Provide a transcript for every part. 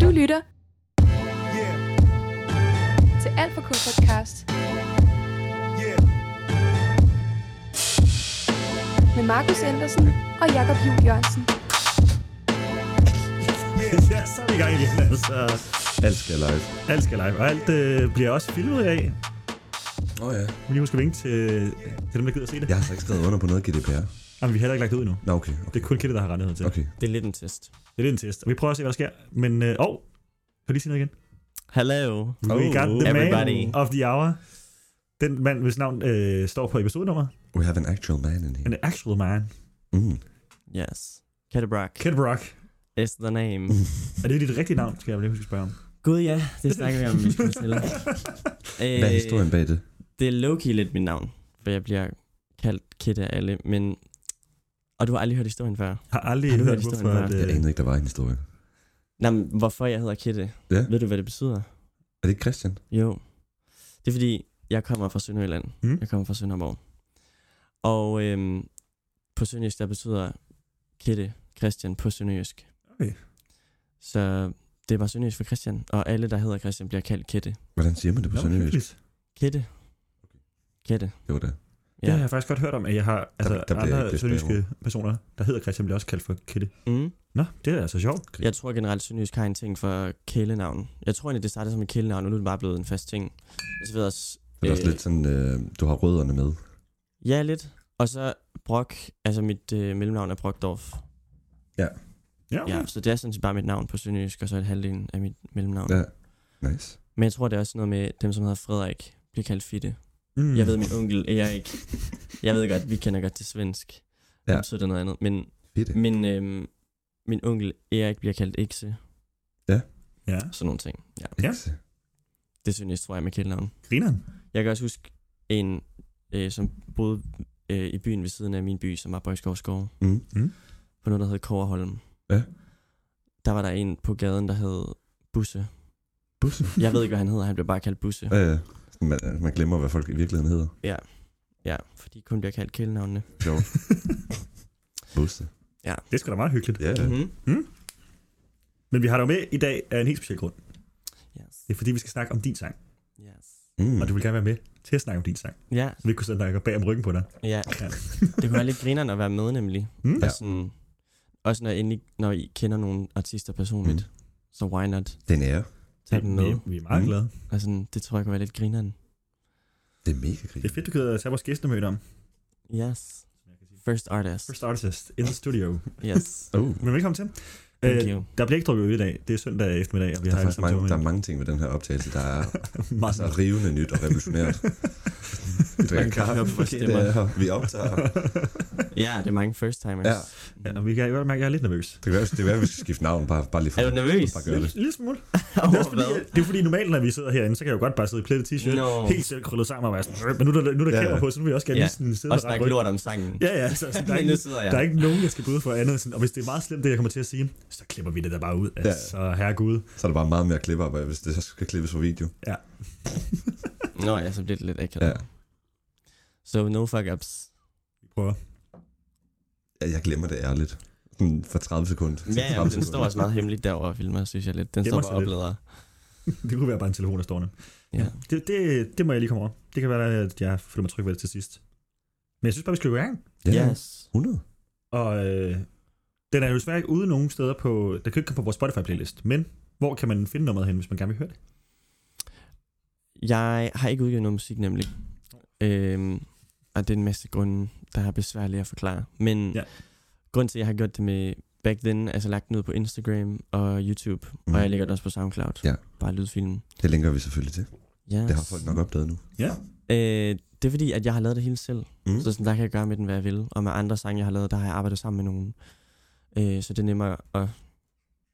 lytter Yeah, til Alt for K podcast yeah. med Markus Andersen og Jakob Juhl Jørgensen. Ja, så er vi i gang igen. Altså, Alt skal live. alt skal live, og alt øh, bliver også filmet i dag. Åh oh, ja. Vi måske vinke til, til dem, der gider se det. Jeg har så ikke skrevet under på noget GDPR. Jamen, vi har heller ikke lagt det ud endnu. Nå, okay. Det Okay. er kun Kette, der har rettighed til. okay. Det er lidt en test. Det er lidt en test. Og vi prøver at se, hvad der sker. Men, øh, åh, kan du lige sige noget igen? Hello. We Oh, got the everybody. man of the hour. Den mand, hvis navn øh, står på episodenummer. We have an actual man in here. An actual man. Mm. Yes. Kettebrock Kid Rock. is the name. Er det dit rigtige navn, skal jeg lige huske at spørge om? Gud ja, det snakker vi om. hvis vi stiller. Øh, Hvad er historien bag det? Det er Loki lidt mit navn, for jeg bliver kaldt Kit af alle, men... Og du har aldrig hørt historien før. Har aldrig Har du hørt, hørt hvorfor... historien, At, Mark? Jeg øh, anede ikke, der var en historie. Nej, men hvorfor jeg hedder Kitte? Ja. Ved du, hvad det betyder? Er det ikke Christian? Jo. Det er fordi, jeg kommer fra Sønderjylland. Mm. Mm. Jeg kommer fra Sønderborg. Og øhm, på sønderjysk, der betyder Kitte Christian på sønderjysk. Okay. Så det var sønderjysk for Christian, og alle, der hedder Christian, bliver kaldt Kitte. Hvordan siger man det på Nå, sønderjysk? hyggeligt. Kitte. Kitte. Det var det. Det har jeg faktisk godt hørt om, at jeg har altså, der der, bliver andre ikke det sønderjyske personer, der hedder Christian, bliver også kaldt for Kette. Mm. Nå, det er altså sjovt. Jeg tror generelt, Sønderjysk har en ting for kælenavn. Jeg tror egentlig, det startede som et kælenavn, og nu er det bare blevet en fast ting. Så ved jeg også... Det er også øh, lidt sådan, øh, du har rødderne med. Ja, lidt. Og så Brock, altså mit øh, mellemnavn er Brockdorf. Ja, okay. Ja, så det er sådan set bare mit navn på sønderjysk, og så et halvdelen af mit mellemnavn. Ja. Nice. Men jeg tror, det er også noget med dem, som hedder Frederik, bliver kaldt Fitte. Mm. Mm. Jeg ved, min onkel Erik, jeg ved godt, vi kender godt til svensk. Ja. Ja. Så er det noget andet. Men, Fedt. men øhm, min onkel Erik bliver kaldt Ikse, Ja, sådan nogle ting. Ja, Ja. Ikke? det synes jeg, tror jeg, med kælenavn. grineren. Jeg kan også huske en, øh, som boede øh, i byen ved siden af min by, som var Bøjskov Skov, Mm. på noget, der hed Koverholm. Ja. Der var der en på gaden, der hed Busse. Bussen. Jeg ved ikke, hvad han hedder, han blev bare kaldt Busse. Ja, ja. Sådan, Man, man glemmer, hvad folk i virkeligheden hedder. Ja, fordi de kun bliver kaldt kælenavnene. Sjovt. Busse. Det er sgu da meget hyggeligt. Ja, ja. Mm-hmm. Men vi har dig med i dag af en helt speciel grund. Yes. Det er fordi, vi skal snakke om din sang, mm. Yes. Mm. og du vil gerne være med til at snakke om din sang. Ja, Så vi kunne sætte dig bag om ryggen på dig. ja. Ja. Det kunne være lidt grineren at være med nemlig. Mm. Og sådan, også når, jeg endelig, når I kender nogle artister personligt, mm. Mhm. så why not Den er. tage dem med? Vi, vi er meget Mm. glade. Og sådan, det tror jeg kunne være lidt grineren. Det er mega Det krig. er fedt, du kan tage vores gæstemøde om. Yes. First artist. First artist in the studio. Yes. Oh. Men velkommen til. Thank Øh, you. Der bliver ikke drukket øl i dag. Det er søndag eftermiddag, og vi Der har er, alle faktisk sammen mange, tømmermænd. der er mange ting ved den her optagelse, der er Meget altså, rivende nyt og revolutionært. Vi drikker Man kan kaffe, høre på vores okay, stemmer. det er her. vi optager. Ja, det er mange first timers. Ja. Ja, og vi kan jo godt mærke, at jeg er lidt nervøs. Det kan være, det kan være, at vi skal skifte navn, bare, bare lige for Er du nervøs? Bare gøre det. Lille smule. Det er, Over også hvad? fordi, det er fordi normalt, når vi sidder herinde, så kan jeg jo godt bare sidde i plettet t-shirt, Nå. helt selv krøllet sammen og være sådan, "Øh," men nu er der, nu er der Ja, ja, ja. kamera på, så nu vil jeg også gerne Ja. lige sådan sidde Og række snakke ryggen. lort om sangen. Ja, ja, altså, sådan, der, er Men nu ikke, sidder jeg. der er ikke nogen, jeg skal bryde for andet. Sådan, og hvis det er meget slemt, det jeg kommer til at sige, så klipper vi det der bare ud. Altså, ja. herregud. Så er der bare meget mere klipper, hvis det så skal klippes på video. Nå ja, så bliver det lidt akavet. Ja. So no fuck ups. Vi prøver. Ja, Jeg glemmer det ærligt. Sådan For 30 sekunder. Ja, ja, men den står også meget hemmeligt derovre og filmer, synes jeg lidt. Den Gemmer står sig bare lidt. oplader. Det kunne være bare en telefon, der står nu. Ja. Det, det, det må jeg lige komme over. Det kan være, at jeg føler mig tryg ved det til sidst. Men jeg synes bare, vi skal gå i gang. Ja, Yes. 100. Og øh, den er jo desværre ikke ude nogen steder på... Der kan ikke komme på vores Spotify-playlist. Men hvor kan man finde nummeret hen, hvis man gerne vil høre det? Jeg har ikke udgivet noget musik nemlig. Øhm, og det er en masse grunde, der er besværlige at forklare. Men Ja. ja. grund til, at jeg har gjort det med back then, altså lagt den ud på Instagram og YouTube, mm. og jeg lægger det også på SoundCloud. Ja. Bare lydfilmen. Det linker vi selvfølgelig til. Yes. Det har folk nok opdaget nu. Øh, det er fordi, at jeg har lavet det hele selv. Mm. Mm. Så sådan, der kan jeg gøre med den, hvad jeg vil. Og med andre sange, jeg har lavet, der har jeg arbejdet sammen med nogen. Øh, så det er nemmere at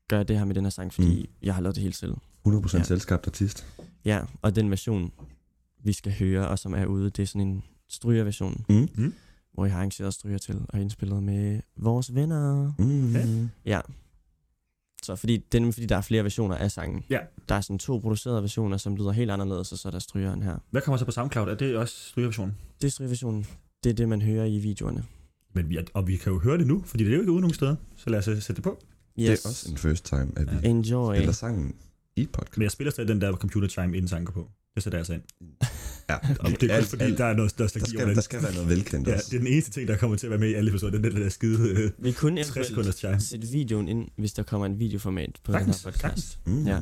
gøre det her med den her sang, fordi mm. jeg har lavet det hele selv. 100% Ja. selskabt artist. Ja, og den version, vi skal høre, og som er ude, det er sådan en strygerversion, Mm. Mm. hvor jeg har arrangeret stryger til og indspillet med vores venner. Mm. Ja. Ja. Så fordi, det er nemlig fordi, der er flere versioner af sangen. Ja. Der er sådan to producerede versioner, som lyder helt anderledes, og så er der strygeren her. Hvad kommer så på SoundCloud? Er det også strygeversionen? Det er strygerversionen. Det er det, man hører i videoerne. Men vi er, og vi kan jo høre det nu, fordi det er jo ikke ude nogen steder. Så lad os øh, sætte det på. Yes. Det er også en first time, at vi ja. Enjoy. spiller sangen i podcast. Men jeg spiller stadig den der computer chime inden tanker på. Det sætter jeg altså ind. Ja, Og det er kun fordi, der er noget der, nostalgi skal, over den. der skal være noget velkendt Ja, også. det er den eneste ting, der kommer til at være med i alle episoder, den der, der skide øh, Vi kunne 60 eventuelt sekunders chime. sætte videoen ind, hvis der kommer en videoformat på Sagtens, den her podcast. sagtens. Mm. Ja.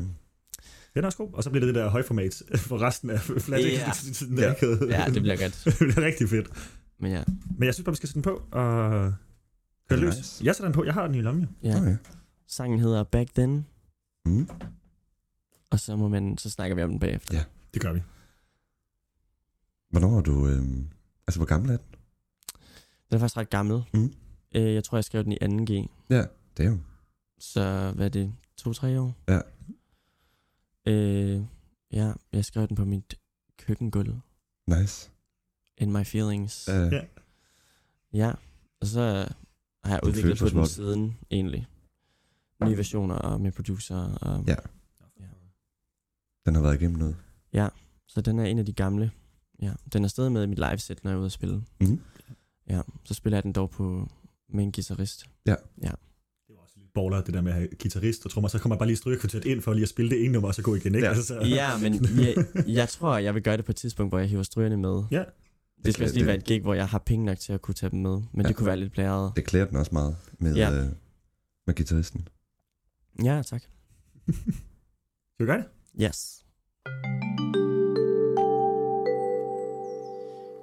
Den er også god. Og så bliver det det der højformat for resten af flat Ja. yeah. tiden der Ja. ikke havde- Ja, det bliver godt. det bliver rigtig fedt. Men ja, Men jeg synes bare, vi skal sætte den på og det køre løs. nice? Jeg sætter den på. Jeg har den i lommen, jo. ja. Okay. Sangen hedder Back Then, Mm. og så, må man, så snakker vi om den bagefter. Det gør vi. Hvornår er du... Øhm, altså, hvor gammel er den? Den er faktisk ret gammel. Mm. Øh, jeg tror, jeg skrev den i 2G. Ja, det er jo. Så hvad er det? To-tre år? Ja. Øh, ja, jeg skrev den på mit køkkengulv. Nice. In my feelings. Uh, Ja. ja. Ja, og så har jeg Den føles udviklet på også den godt. siden, egentlig. Nye versioner og med producer. Og, Ja. Den har været igennem noget. Så den er en af de gamle. Ja, den er stadig med i mit liveset, når jeg er ude at spille. Mm. Ja, så spiller jeg den dog på med en guitarist. Det var også lidt baller, det der med at have guitarist og trommer. Så kommer man bare lige strygekvartet ind for lige at spille det ene nummer, og så gå igen, ikke? Altså, Ja. så, Ja, men jeg, jeg tror, jeg vil gøre det på et tidspunkt, hvor jeg hiver strygerne med. Ja. Det skal Det- også lige det- være et gig, hvor jeg har penge nok til at kunne tage dem med. Men Ja. det kunne være lidt blæret. Det klæder den også meget med, Ja. ja. øh, med guitaristen. Ja, tak. Skal vi gøre det? Yes.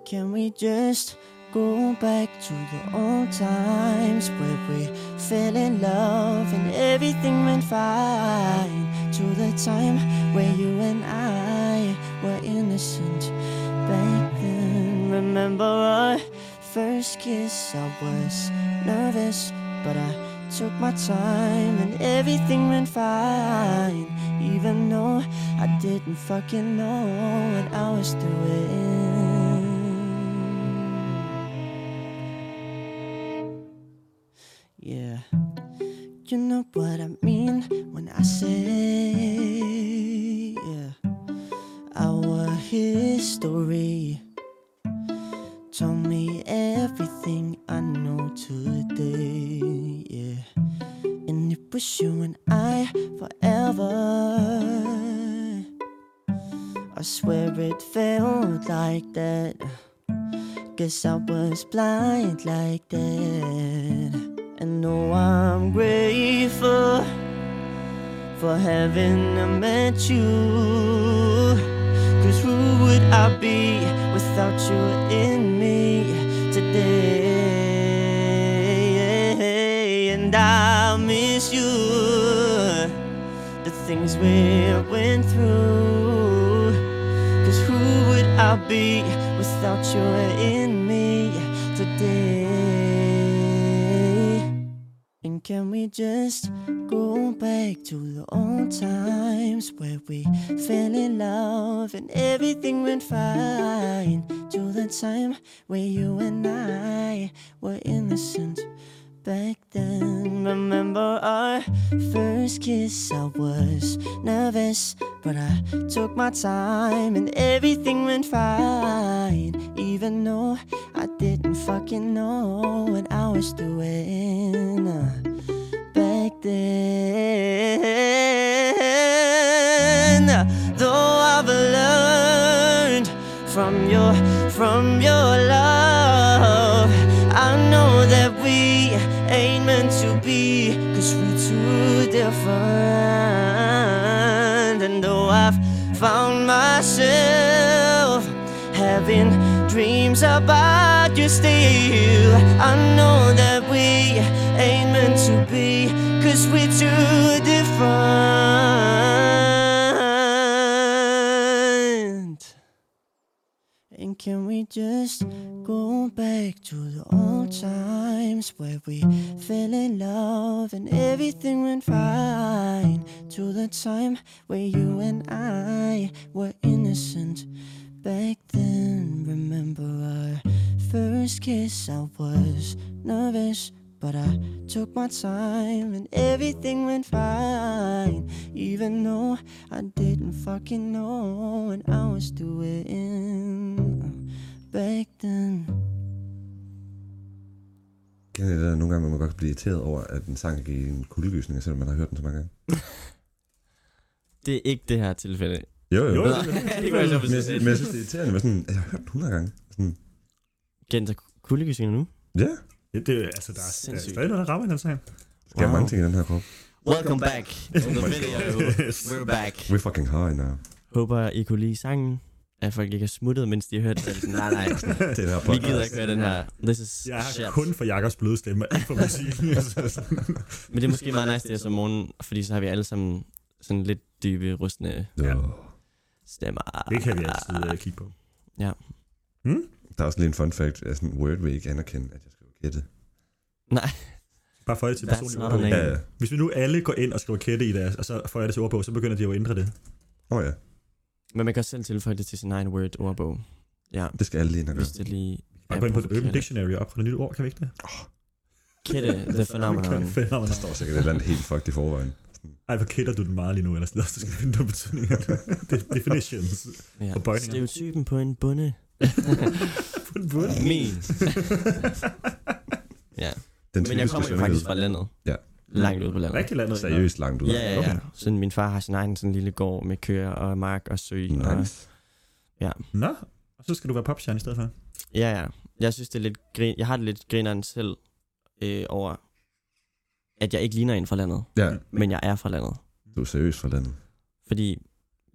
Can we just go back to the old times where we fell in love and everything went fine? To the time where you and I were innocent back then. Remember our first kiss? I was nervous, but I took my time and everything went fine. Even though I didn't fucking know what I was doing. Yeah. You know what I mean when I say, yeah. Our history. Tell me everything I know today, yeah. And it was you and I forever. I swear it felt like that. Guess I was blind like that. And no, I'm grateful for having met you. Cause who would I be without you in me today? And I miss you the things we went through. Cause who would I be without you in me today? And can we just go back to the old times where we fell in love and everything went fine? To the time where you and I were innocent back then. Remember our first kiss? I was nervous, but I took my time and everything went fine. Even though I didn't fucking know what I was doing uh, back then. Though I've learned from your from your love, I know that we ain't meant to be, cause we're too different. And though I've found myself having dreams about you still, I know that we ain't meant to be, cause we're too different. And can we just go back to the old times where we fell in love and everything went fine? To the time where you and I were innocent back then. Remember our first kiss? I was nervous. But I took my time and everything went fine. Even though I didn't fucking know what I was uh, doing back then. Kender I det der nogle gange, hvor man godt kan blive irriteret over, at en sang kan give en kuldegysning, selvom man har hørt den så mange gange? Det er ikke det her tilfælde. Jo, jo. Jo, jo. det er det. det kunne jeg så Men, jeg- men jeg synes, det er irriterende, men sådan, at jeg har hørt den 100 gange. Sådan, Gent og kuldegysninger nu. ja, Ja, det, er- altså, der er, der er Sindssygt. stadig noget, der rammer i den sang. der wow. Wow. mange ting i den her krop. Welcome back to the video. Yes. We're back. We fucking high now. Håber, I kunne lide sangen. At folk ikke er smuttet, mens de har hørt det. Nej, nej. Det er der Vi gider ikke høre den her. This is Jeg har shit. kun for Jakobs bløde stemme og ikke for musikken. Altså, sådan. Men det er måske meget nice, det er som morgen, fordi så har vi alle sammen sådan lidt dybe, rustne Ja. stemmer. det kan vi altid uh, kigge på. Hmm? Der er også lige en fun fact, at sådan en word vil ikke anerkende, at jeg skal gætte. Bare for det til That's personlig not a ordbog. name. Ja, ja. Hvis vi nu alle går ind og skriver kætte i deres, og så får jeg det til ordbog, så begynder de jo at ændre det. Åh oh, ja, Men man kan også selv tilføje det til sin egen word ordbog. Ja, det skal alle lige ind og hvis gøre. det lige Bare er gå ind på The Urban provokerende. Dictionary og opfinde et nyt ord, kan vi ikke det? Kette, the phenomenon. Fænomenon. Der står sikkert et eller andet helt fucked i forvejen. Ej, hvor kætter du den meget lige nu, ellers så skal vi finde nogle betydninger. De- Definitions. Og Ja. bøjninger. Stereotypen på en bunde. På en bund. Min. ja. Den typiske Men jeg kommer jo svømmehud. faktisk fra landet. Ja. Langt ude på landet. Rigtig landet. Seriøst langt ud. Ja, ja, ja. Sådan min far har sin egen sådan lille gård med køer og mark og sø. Og, Nice. Nå, og så skal du være popstjerne i stedet for. ja, ja. Jeg synes, det er lidt grin. Jeg har det lidt grineren selv øh, over, at jeg ikke ligner en fra landet. Ja, Men jeg er fra landet. du er seriøst fra landet. Fordi,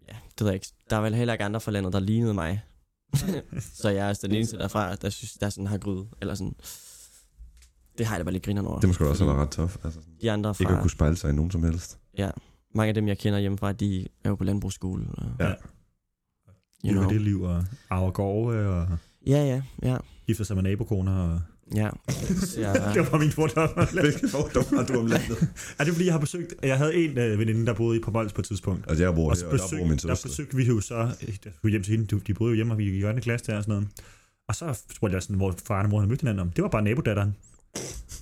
ja, det ved jeg ikke. Der er vel heller ikke andre fra landet, der lignede mig. så jeg er altså den eneste derfra, der synes, der sådan har gryde. Eller sådan. Det har jeg da bare lidt grineren over. Det må sgu da også Fordi være ret tough. Altså, sådan, De andre ikke at fra, kunne spejle sig i nogen som helst. mange af dem, jeg kender hjemmefra, de er jo på landbrugsskole. Og, Ja. You Liv know. er det liv, og arver gårde, øh, og Ja, ja, ja. gifter sig med nabokoner. Og... Ja. Så jeg, Det var bare min fordom. Hvilke fordom har du om landet? er det fordi, jeg har besøgt... Jeg havde en øh, veninde, der boede i på Mols på et tidspunkt. Altså, jeg bor Og her, så og der bor min besøgte, der søster. besøgte vi jo så, øh, der skulle hjem til hende, de- de boede jo hjemme, og vi gik i 8. klasse der og sådan noget. Og så spurgte jeg sådan, hvor faren og mor havde mødt hinanden om. Det var bare nabodatteren.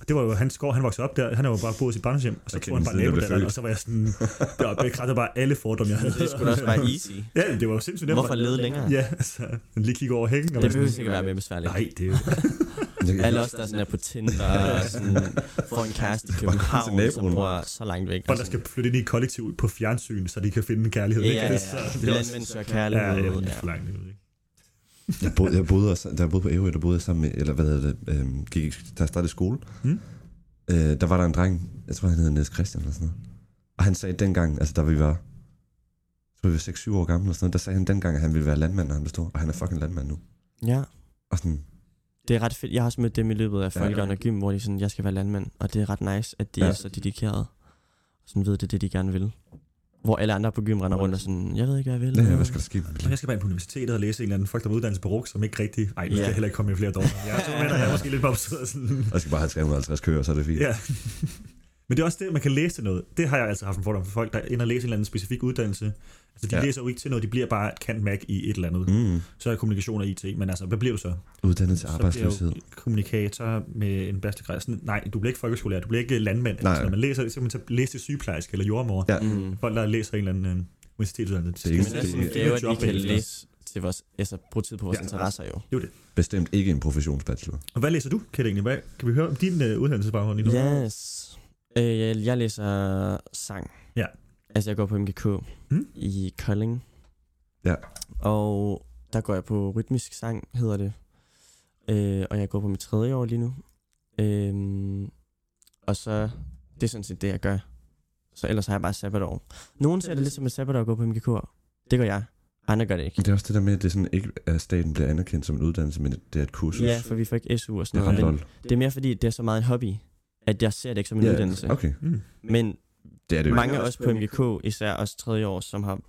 Og det var jo hans gård, han voksede op der, han har jo bare boet i sit barndomshjem, og så Jeg kender tog han den bare siden, jeg blev nabodatteren, født. og så var jeg sådan, der bekræftede bare alle fordomme, jeg havde. det skulle da også være easy. Ja, det var jo sindssygt nemt. Hvorfor lede længere? Ja, altså, lige kigge over hækken. Og Det være behøver sådan, ikke at være mere besværligt. Nej, det er jo... Jeg kan- Alle os, der sådan er på Tinder og sådan, får en kæreste i Bare til København, naboen. som bor så langt væk. Folk, der skal flytte ind i et kollektiv på fjernsyn, så de kan finde en kærlighed. Ja, ikke? ja, Så det ja. er også- Landmænd søger Ja, kærlighed. det er jo Ja. for langt, det ved jeg ikke. Jeg boede, jeg boede også, da jeg boede på Ærø, der boede jeg sammen med, eller hvad hedder det, øhm, gik, i- da jeg startede skole, Mm. øh, der var der en dreng, jeg tror han hed Niels Christian eller sådan noget, og han sagde dengang, altså da vi var, jeg tror vi var 6-7 år gamle eller sådan noget, der sagde han dengang, at han ville være landmand, når han blev stor, og han er fucking landmand nu. ja. Og sådan, Det er ret fedt. Jeg har også mødt dem i løbet af Ja. Folkeren og Gym, hvor de sådan, jeg skal være landmand, og det er ret nice, at de Ja. er så dedikerede. Sådan ved det, er det de gerne vil. Hvor alle andre på gym render rundt og sådan, jeg ved ikke, hvad jeg vil. ja, hvad skal der ske? med mit Og liv? jeg skal bare ind på universitetet og læse en eller anden folk, der er uddannet på RUG, som ikke rigtig... Ej, nu skal Ja. jeg heller ikke komme i flere dårlige. Jeg tror, at jeg er måske lidt på opstået sådan... Og jeg skal bare have 350 køer, så er det fint. Ja. Men det er også det, at man kan læse til noget. Det har jeg altså haft en fordom for folk, der ender og læser en eller anden specifik uddannelse. Altså, de Ja. ja. læser jo ikke til noget, de bliver bare kant mag i et eller andet. Mm. Mm. Så er kommunikation og IT, men altså, hvad bliver du så? Uddannet til Så arbejdsløshed. bliver jo kommunikator med en bachelorgrad. Sådan, nej, du bliver ikke folkeskolelærer, du bliver ikke landmand. Nej. Altså, når man læser, så kan man tage, læse til sygeplejerske eller jordmor. Ja. Ja. Mm. Folk, der læser en eller anden øh, universitetsuddannelse. Det er Men ikke det er sådan en Det gave, at job vi kan bagefter. læse til vores, altså bruge tid på vores Ja. ja. interesser jo. Bestemt ikke en professionsbachelor. Og hvad læser du, Kjell egentlig? Hvad, kan vi høre om din øh, uddannelsesbaggrund lige nu? Yes. Øh, jeg, jeg læser sang. Ja. Altså, jeg går på MGK Mm. i Kolding. Hmm? Ja. Og der går jeg på rytmisk sang, hedder det. Øh, og jeg går på mit tredje år lige nu. Øhm, og så, det er sådan set det, jeg gør. Så ellers har jeg bare sabbatår. Nogen ser det lidt som et sabbatår at gå på MGK. Det gør jeg. Andre gør det ikke. Men det er også det der med, at det sådan ikke, at staten bliver anerkendt som en uddannelse, men det er et kursus. Ja, for vi får ikke SU og Det sådan er noget. ret Men lol. det er mere fordi, det er så meget en hobby, at jeg ser det ikke som en Ja, uddannelse. Okay, Mm. Men det er det det jo mange af os på MGK, især os tredje år, som har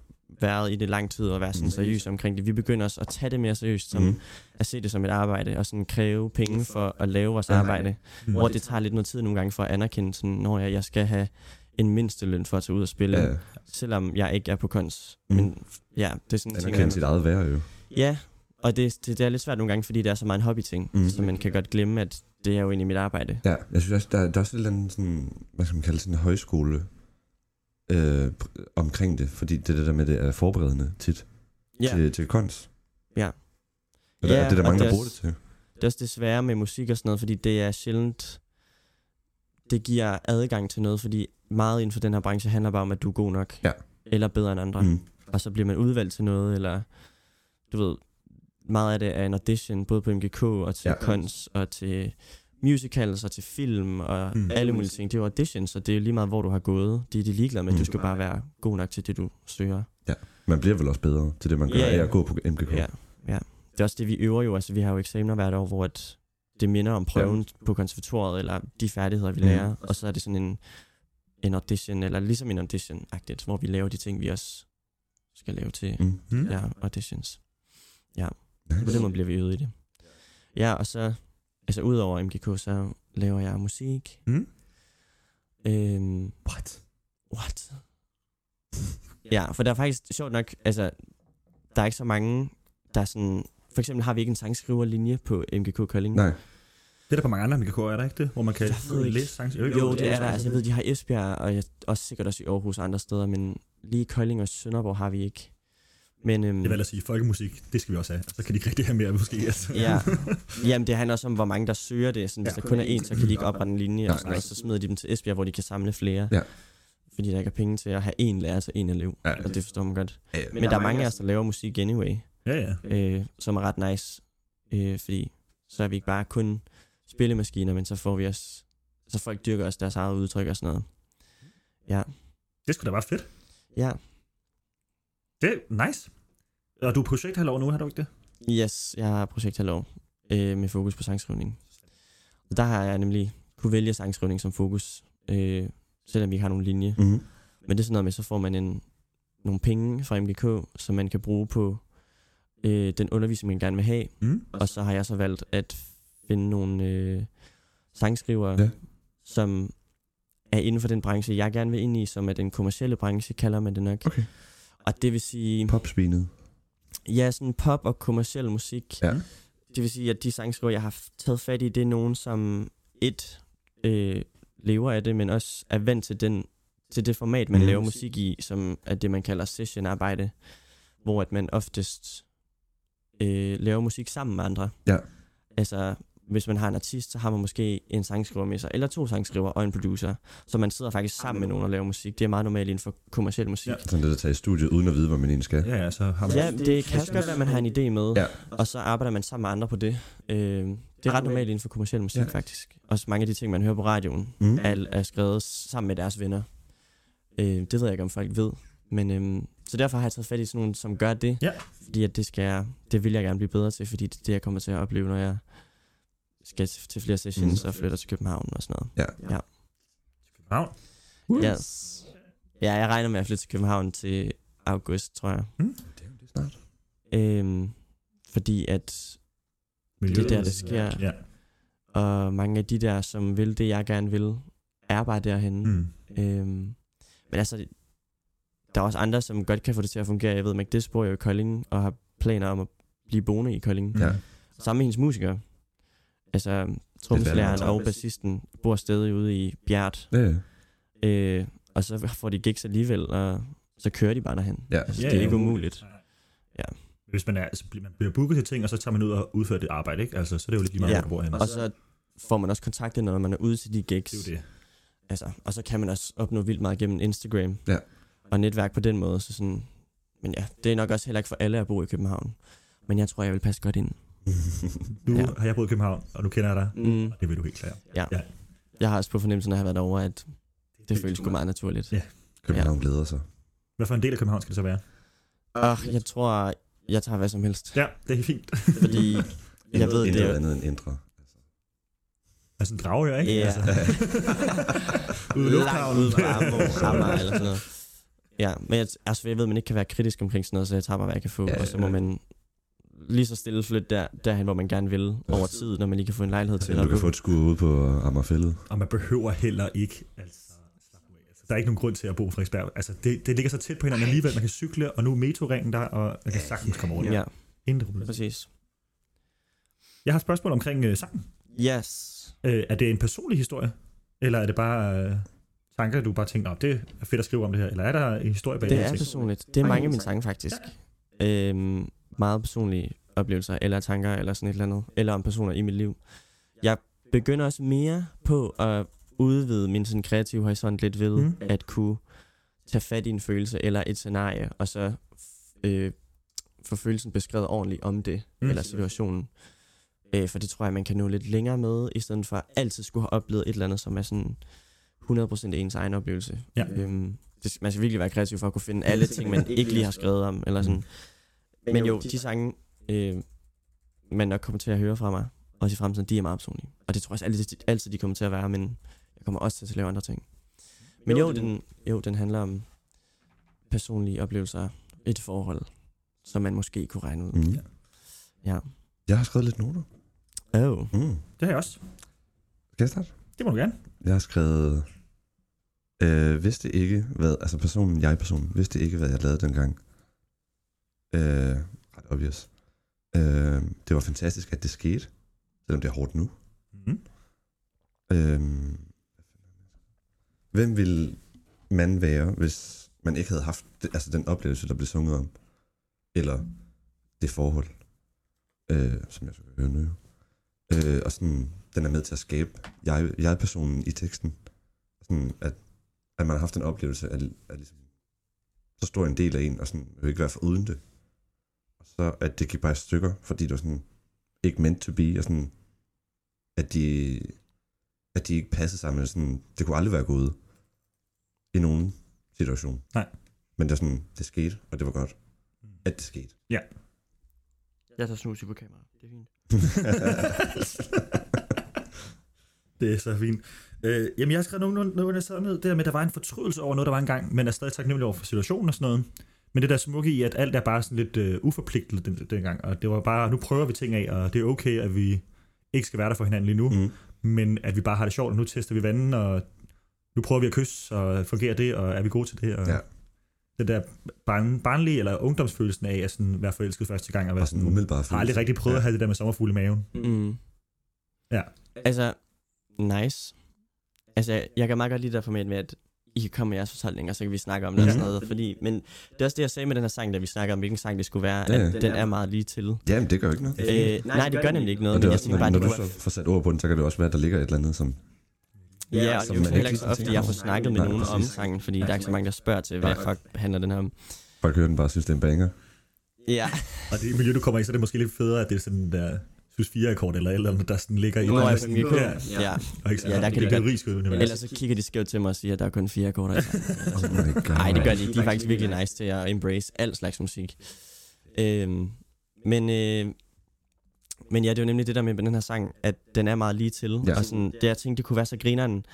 været i det lang tid og været sådan Mm. seriøse omkring det. Vi begynder også at tage det mere seriøst, som Mm. mm. at se det som et arbejde, og sådan kræve penge for at lave vores Ja. arbejde. Mm. Hvor det tager lidt noget tid nogle gange for at anerkende, sådan, når jeg, jeg skal have en mindsteløn for at tage ud og spille, Ja, ja. selvom jeg ikke er på kons. Mm. Mm. Men ja, det er sådan en ting. anerkende sit man- eget værre jo. Ja, og det, det, det er lidt svært nogle gange, fordi det er så meget en hobbyting, Mm. mm. så man kan godt glemme, at det er jo egentlig mit arbejde. Ja, jeg synes også, der, der er også et eller andet sådan, hvad skal man kalde det, sådan en højskole øh, pr- omkring det, fordi det, er det der med, det er forberedende tit ja. Ja, til, til kons. Ja. Og der, Ja, ja, det er der og mange, det der er bruger det også- til. det er også det svære med musik og sådan noget, fordi det er sjældent, det giver adgang til noget, fordi meget inden for den her branche handler bare om, at du er god nok. Ja. Eller bedre end andre. Mm. Mm. Og så bliver man udvalgt til noget, eller du ved, meget af det er en audition, både på MGK og til Ja. ja. kons og til musicals og til film og Mm. mm. alle mulige ting. Det er jo auditions, og det er lige meget, hvor du har gået. Det er de ligeglade med. Mm. Mm. Du skal bare være god nok til det, du søger. Man bliver vel også bedre til det, man gør Ja, yeah, af ja. at gå på MGK. Ja, ja. Det er også det, vi øver jo. Altså, vi har jo eksamener hvert år, hvor at det minder om prøven ja. på konservatoriet, eller de færdigheder, vi Mm. lærer. Og så er det sådan en, en audition, eller ligesom en audition-agtigt, hvor vi laver de ting, vi også skal lave til Mm. Hmm? ja, auditions. På den Nice. måde bliver vi øvet i det. Ja, og så, altså udover MGK, så laver jeg musik. Mm? Øhm, What? What? ja, for der er faktisk, sjovt nok, altså, der er ikke så mange, der er sådan... For eksempel har vi ikke en sangskriverlinje på MGK Kolding. Nej. Det er der på mange andre MGK'er, er der ikke det? Hvor man kan Jeg ved ikke. læse sang. Jo, det er der. Altså, jeg ved, de har i Esbjerg, og jeg, også sikkert også i Aarhus og andre steder, men lige i Kolding og Sønderborg har vi ikke. Men, øhm, Jeg vil ellers sige, folkemusik, det skal vi også have. Så kan de ikke rigtig have mere, måske. Altså. ja. Jamen, det handler også om, hvor mange der søger det. Sådan, hvis Ja. der kun er én, så kan de ikke oprette en linje, Nej, og, sådan, nej. noget, og så smider de dem til Esbjerg, hvor de kan samle flere. Ja. Fordi der ikke er penge til at have én lærer, så én elev. Ja. Og det forstår man godt. Ja, Men, men der er mange af os, der laver musik anyway. ja, ja. øh, som er ret nice, øh, fordi så er vi ikke bare kun spillemaskiner, men så får vi også, så folk dyrker også deres eget udtryk og sådan noget. Ja, Det skulle da være fedt. ja, Det er nice. Og du er projekthalvår nu, har du ikke det? yes, jeg har projekt Hallov, øh, med fokus på sangskrivning. Og der har jeg nemlig kunne vælge sangskrivning som fokus, øh, selvom vi ikke har nogen linje. Mm-hmm. Men det er sådan noget med, så får man en, nogle penge fra MGK, som man kan bruge på øh, den undervisning, man gerne vil have, Mm? Og så har jeg så valgt at finde nogle øh, sangskrivere, Ja. ja. som er inden for den branche, jeg gerne vil ind i, som er den kommercielle branche, kalder man det nok. Okay. Og det vil sige, Popsvinet. ja, sådan pop og kommerciel musik. Ja. Det vil sige, at de sangskriver, jeg har f- taget fat i, det er nogen, som et øh, lever af det, men også er vant til, den, til det format, man Mhm. mm. laver musik i, som er det, man kalder sessionarbejde, hvor at man oftest øh, laver musik sammen med andre. Ja. Altså, hvis man har en artist, så har man måske en sangskriver med sig, eller to sangskriver og en producer. Så man sidder faktisk sammen med nogen og laver musik. Det er meget normalt inden for kommerciel musik. Ja. Sådan lidt at tage i studiet, uden at vide, hvad man egentlig skal. Ja, ja, så har man... Ja, det kan også godt være, at man har en idé med, Ja. ja. og så arbejder man sammen med andre på det. Øh, det er ret normalt inden for kommersiel musik, Ja. ja. faktisk. Også mange af de ting, man hører på radioen, Mm. er, er skrevet sammen med deres venner. Øh, det ved jeg ikke, om folk ved. Men, øhm, så derfor har jeg taget fat i sådan nogen, som gør det. Ja. Fordi at det, skal jeg, det vil jeg gerne blive bedre til, fordi det er det, jeg kommer til at opleve, når jeg skal til til flere sessions Mm. mm. og flytter til København og sådan noget. København. Yes. Ja, jeg regner med at flytte til København til august, tror jeg. Det er jo det snart. Øhm, fordi at det er der, det sker. Ja. Og mange af de der, som vil det, jeg gerne vil, er bare derhen. Mm. Mm. Øhm, men altså, der er også andre, som godt kan få det til at fungere. Jeg ved, Mac Dis bor jo i Kolding, og har planer om at blive boende i Kolding. Mm. Ja. Sammen med hendes musikere. Altså, trommeslageren og bassisten bor stadig ude i Bjert. Ja, ja. Øh, og så får de gigs alligevel, og så kører de bare derhen. Ja. Altså, Ja, det er ja. ikke umuligt. Ja. Hvis man, er, altså, bliver- man bliver booket til ting, og så tager man ud og udfører det arbejde, ikke? Altså, så er det jo lidt lige meget, Ja. hvor du bor henne. Og så får man også kontakter, når man er ude til de gigs. Det er jo det. Altså, og så kan man også opnå vildt meget gennem Instagram Ja. og netværk på den måde. Så sådan, men ja, det er nok også heller ikke for alle at bo i København. Men jeg tror, jeg vil passe godt ind. Nu Ja. har jeg boet i København, og nu kender jeg dig. Mm. Det vil du helt klart. Jeg har også på fornemmelsen af at have været over, at det føles sgu meget naturligt. Ja. København ja. glæder sig. Hvad for en del af København skal det så være? Og jeg tror, jeg tager hvad som helst. Ja, det er fint. Fordi jeg ved, Intet det er, andet end indre. Altså en drage, ikke? Ja. Altså, ude i langt lufthavnen. ude fra Amager Amager eller sådan noget. Ja, men jeg, altså, jeg ved, man ikke kan være kritisk omkring sådan noget, så jeg tager bare, hvad jeg kan få, Ja, ja, og så må ja. man lige så stille flytte der, derhen, hvor man gerne vil over tid, når man lige kan få en lejlighed til. Du at kan bo. få et skud ude på Ammerfællet. Og man behøver heller ikke, altså, slap nu af. Altså, der er ikke nogen grund til at bo på Frederiksberg. Altså, det, det ligger så tæt på hinanden alligevel. Man kan cykle, og nu er metroringen der, og man kan sagtens komme rundt. Ja, Intet problem. præcis. Jeg har et spørgsmål omkring øh, sangen. Yes. Øh, er det en personlig historie? Eller er det bare øh, tanker, du bare tænker, "Nå, det er fedt at skrive om det her? Eller er der en historie bag det, Det her er ting? personligt. Det er mange af mine sange, faktisk. Øhm, meget personlige oplevelser, eller tanker, eller sådan et eller andet. Eller om personer i mit liv. Jeg begynder også mere på at udvide min sådan kreative horisont lidt ved Mm. mm. at kunne tage fat i en følelse eller et scenarie, og så øh, få følelsen beskrevet ordentligt om det, Mm. mm. eller situationen. Øh, for det tror jeg, man kan nå lidt længere med, i stedet for at altid skulle have oplevet et eller andet, som er sådan 100% ens egen oplevelse. Ja. Øhm, det, man skal virkelig være kreativ for at kunne finde alle ting, man ikke lige har skrevet om, eller sådan. Men jo, de sange, øh, man nok kommer til at høre fra mig, også i fremtiden, de er meget personlige. Og det tror jeg også altid, altid de kommer til at være, men jeg kommer også til at lave andre ting. Men jo, den, jo, den handler om personlige oplevelser, et forhold, som man måske kunne regne ud. Mm. Ja. Jeg har skrevet lidt noter. Oh. Mm. Det har jeg også. Skal jeg starte? Det må du gerne. Jeg har skrevet, øh, vidste ikke, hvad, altså personen, jeg-personen, vidste ikke, hvad jeg lavede dengang. Øh, ret obvious. Øh, det var fantastisk, at det skete, selvom det er hårdt nu. Mm. Øh, hvem ville man være, hvis man ikke havde haft det, altså den oplevelse, der blev sunget om? Eller det forhold, øh, som jeg skal høre nu. Øh, og sådan, den er med til at skabe jeg, jeg-personen i teksten. Sådan, at, at man har haft en oplevelse af, af ligesom, så stor en del af en, og sådan, vil ikke være for uden det. Og så, at det gik bare i stykker, fordi det var sådan, ikke meant to be, og sådan, at de, at de ikke passede sammen. Sådan, det kunne aldrig være gået i nogen situation. Nej. Men det, er sådan, det skete, og det var godt, at det skete. Jeg tager snus i på kamera. Det er fint. Det er så fint. Øh, jamen, jeg har skrevet nogle, nogle, der sad ned, det der med, at der var en fortrydelse over noget, der var engang, men er stadig taknemmelig over for situationen og sådan noget. Men det der smukke i, at alt er bare sådan lidt øh, uforpligtet den, dengang, og det var bare, nu prøver vi ting af, og det er okay, at vi ikke skal være der for hinanden lige nu, Uh-huh. mm. mm. men at vi bare har det sjovt, og nu tester vi vandet, og nu prøver vi at kysse, og fungerer det, og er vi gode til det? Og Ja. Den der barn, barnlige eller ungdomsfølelsen af at sådan være forelsket første gang, og være Bare sådan Mm-hmm. sådan, sådan umiddelbart har aldrig rigtig prøvet ja. at have det der med sommerfugle i maven. Mm. Ja. Altså, nice. Altså, jeg, jeg kan meget godt lide det der format med, at I kan komme med jeres fortolkninger, så kan vi snakke om det Ja. og sådan noget. Fordi, men det er også det, jeg sagde med den her sang, da vi snakker om, hvilken sang det skulle være, Ja, ja. at den er meget lige til. Jamen, det gør jo ikke noget. Øh, nej, det gør nemlig ikke Og noget, det men er jeg også, tænker når, bare, bare, at når det du kunne så får sat ord på den, så kan det også være, at der ligger et eller andet, som... være... Ja, og som det er jo man heller ikke ikke så sådan ofte, tænker jeg får over. snakket med Nej, nogen om præcis. sangen, fordi der er ikke så mange, der spørger til, hvad fuck handler den her om. Folk hører den bare og synes, det er en banger. Ja, Og det miljø, du kommer i, så er det måske lidt federe, at det er sådan der sus 4 akkord eller et eller andet, der sådan ligger i nu er jeg resten. på mikro. ja, Ja. og ikke så, Ja, der ja, der kan kan det det er juridisk univers. Ellers så kigger de skævt til mig og siger, at der er kun fire akkorder. i sangen. Oh my god. Nej, Altså, det gør de ikke. De er faktisk virkelig nice til at embrace al slags musik. Øhm, men, øh, men ja, det er jo nemlig det der med den her sang, at den er meget lige til. Ja. Ja. Og sådan, det jeg tænkte, det kunne være så grineren,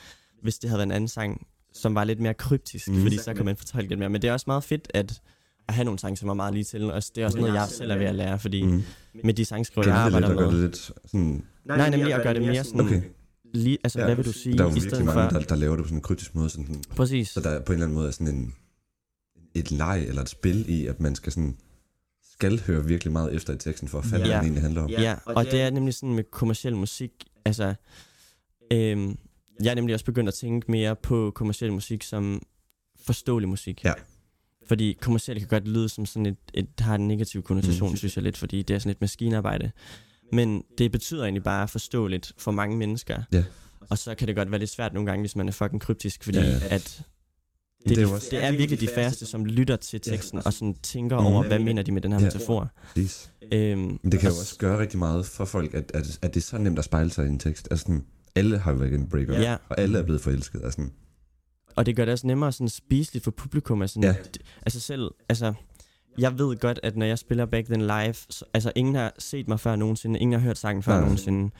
hvis det havde været en anden sang, som var lidt mere kryptisk, Mm. mm. fordi så kan man fortolke lidt mere. Men det er også meget fedt at, at have nogle sange, som er meget lige til. Og det er også noget, jeg selv er ved at lære, fordi mm. Mm. med de sangskriver, Kan jeg det lidt arbejder og gøre det med. lidt sådan... Nej, nemlig at gøre det mere sådan, Okay. okay. lige, altså Ja, ja, hvad vil du Der er sige, jo Mm. i virkelig stedet mange, for... der, der laver det på sådan en kryptisk måde. Sådan, Præcis. så der på en eller anden måde er sådan en, et leg eller et spil i, at man skal sådan skal høre virkelig meget efter i teksten for at falde, Ja. hvad den egentlig handler om. Ja, og, det, er nemlig sådan med kommersiel musik, altså, øhm, jeg er nemlig også begyndt at tænke mere på kommersiel musik som forståelig musik. Ja. Fordi kommersiel kan godt lyde som sådan et, et har en negativ konnotation, mm. synes jeg lidt, fordi det er sådan lidt maskinarbejde. Men det betyder egentlig bare forståeligt for mange mennesker. Ja. Og så kan det godt være lidt svært nogle gange, hvis man er fucking kryptisk, fordi Ja, ja, ja. ja. at Det det, er det, jo er også- de, det er virkelig de færreste, som lytter til teksten, og sådan tænker Mm. over, hvad mener de med den her Ja. metafor. Præcis. Øhm, Men det kan og jo også gøre rigtig meget for folk, at, at, at det er så nemt at spejle sig i en tekst. Altså sådan, alle har jo været en breakup, Ja. og alle er blevet forelsket. Altså sådan, Og det gør det også nemmere sådan spiseligt for publikum. Altså, Ja. ja. altså selv, altså, jeg ved godt, at når jeg spiller Back Then Live, så, altså ingen har set mig før nogensinde, ingen har hørt sangen før Nej. Nej. nogensinde.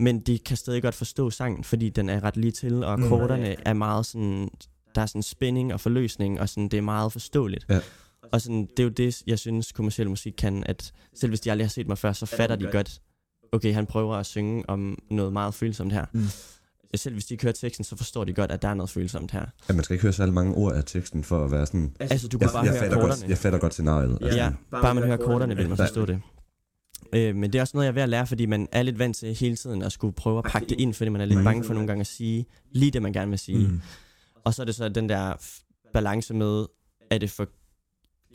Men de kan stadig godt forstå sangen, fordi den er ret lige til, og Mm. akkorderne er meget sådan, der er sådan spænding og forløsning, og sådan, det er meget forståeligt. Ja. Og sådan, det er jo det, jeg synes, kommersiel musik kan, at selv hvis de aldrig har set mig før, så fatter de godt, okay, han prøver at synge om noget meget følsomt her. Mm. Selv hvis de kører teksten, så forstår de godt, at der er noget følsomt her. at man skal ikke høre særlig mange ord af teksten for at være sådan... Altså, du Jeg, kunne bare jeg, høre fatter, akkorderne. godt, jeg fatter godt scenariet. Altså, Ja, sådan, bare man hører akkorderne, vil man Ja. forstå det. Øh, men det er også noget, jeg er ved at lære, fordi man er lidt vant til hele tiden at skulle prøve at pakke det ind, fordi man er lidt Mhm. bange for nogle gange at sige lige det, man gerne vil sige. Mm. Og så er det så den der f- balance med, er det for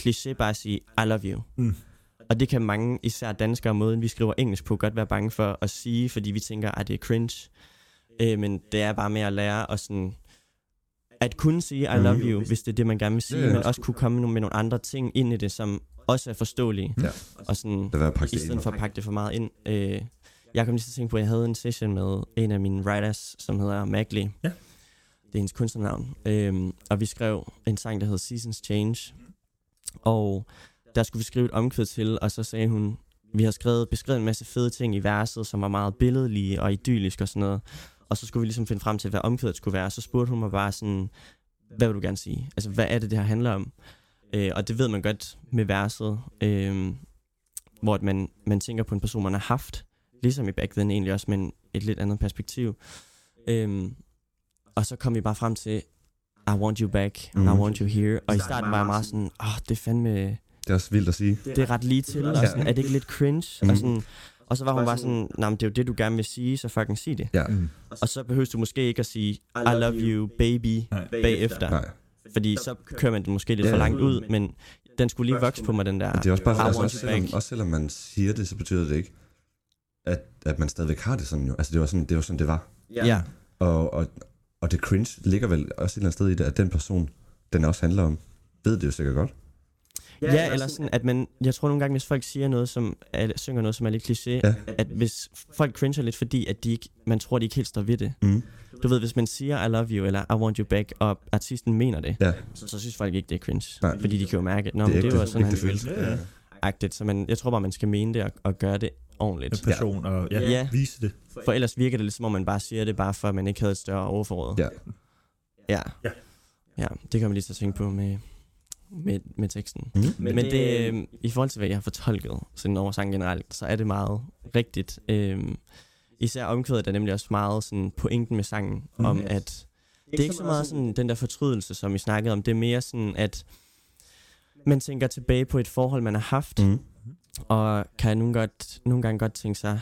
kliché bare at sige, I love you. Mm. Og det kan mange, især danskere, måden vi skriver engelsk på, godt være bange for at sige, fordi vi tænker, at det er "Ah, cringe. Øh, men det er bare med at lære og sådan at kunne sige I love you, hvis det er det, man gerne vil sige, Ja, ja. men også kunne komme med nogle andre ting ind i det, som også er forståelige. Ja. Og sådan, Lad være at pakke det i ind. stedet for at pakke det for meget ind. Øh, jeg kom lige til at tænke på, at jeg havde en session med en af mine writers, som hedder Magley. Ja. Det er hendes kunstnernavn. Øhm, og vi skrev en sang, der hed Seasons Change. Og der skulle vi skrive et omkvæd til, og så sagde hun, vi har skrevet, beskrevet en masse fede ting i verset, som var meget billedlige og idyllisk og sådan noget. Og så skulle vi ligesom finde frem til, hvad omkvædet skulle være. Og så spurgte hun mig bare sådan, hvad vil du gerne sige? Altså, hvad er det, det her handler om? Øh, og det ved man godt med verset. Øh, hvor at man, man tænker på en person, man har haft, ligesom i Back Then egentlig også, men et lidt andet perspektiv. Øhm, og så kom vi bare frem til, I want you back, mm. I Mhm. want you here. Og i starten var jeg meget sådan, åh, oh, det er fandme, Det er også vildt at sige. det er ret lige til, og Ja. sådan, er det ikke lidt cringe? Mhm. Og, sådan, og så var hun bare sådan, nej, men det er jo det, du gerne vil sige, så fucking sig det. Ja. Mm. Og så behøver du måske ikke at sige, I love you, baby, Nej. bagefter. Nej. Fordi så kører man det måske lidt Ja. for langt ud, men den skulle lige vokse på mig, den der. Og det er også bare, I altså, want også, you selvom, back. også selvom man siger det, så betyder det ikke, at, at man stadigvæk har det sådan jo. Altså det var sådan, det var, sådan, det var. Ja, Og, og, og det cringe ligger vel også et eller andet sted i det, at den person, den også handler om, ved det jo sikkert godt. Ja, ja eller sådan, at man, jeg tror nogle gange, hvis folk siger noget, som er, synger noget, som er lidt kliché, ja. Ja. at hvis folk cringer lidt, fordi at de ikke, man tror, de ikke helt står ved det. Mm. Du ved, hvis man siger, I love you, eller I want you back, og artisten mener det, Ja. så, så synes folk ikke, det er cringe. Nej. Fordi de kan jo mærke, at Nå, Nå, det det, er det ægte, var sådan, ægte han ville følelse. Ja, ja. agtigt. Så man, jeg tror bare, man skal mene det og, og gøre det Med ordentligt. passion og ja, Ja. ja. vise det. For ellers virker det lidt, som om man bare siger det, bare for at man ikke havde et større overforråd. Ja. Ja. Ja. ja, det kan man lige så tænke på med, med, med teksten. Mm. Men, men det, øh, i forhold til, hvad jeg har fortolket sådan over sangen generelt, så er det meget rigtigt. Øh, især omkvædet er nemlig også meget sådan, pointen med sangen, Mhm. mm. om at det er ikke så meget sådan, den der fortrydelse, som I snakkede om. Det er mere sådan, at man tænker tilbage på et forhold, man har haft, Mm. og kan nogle, godt, nogle gange godt tænke sig,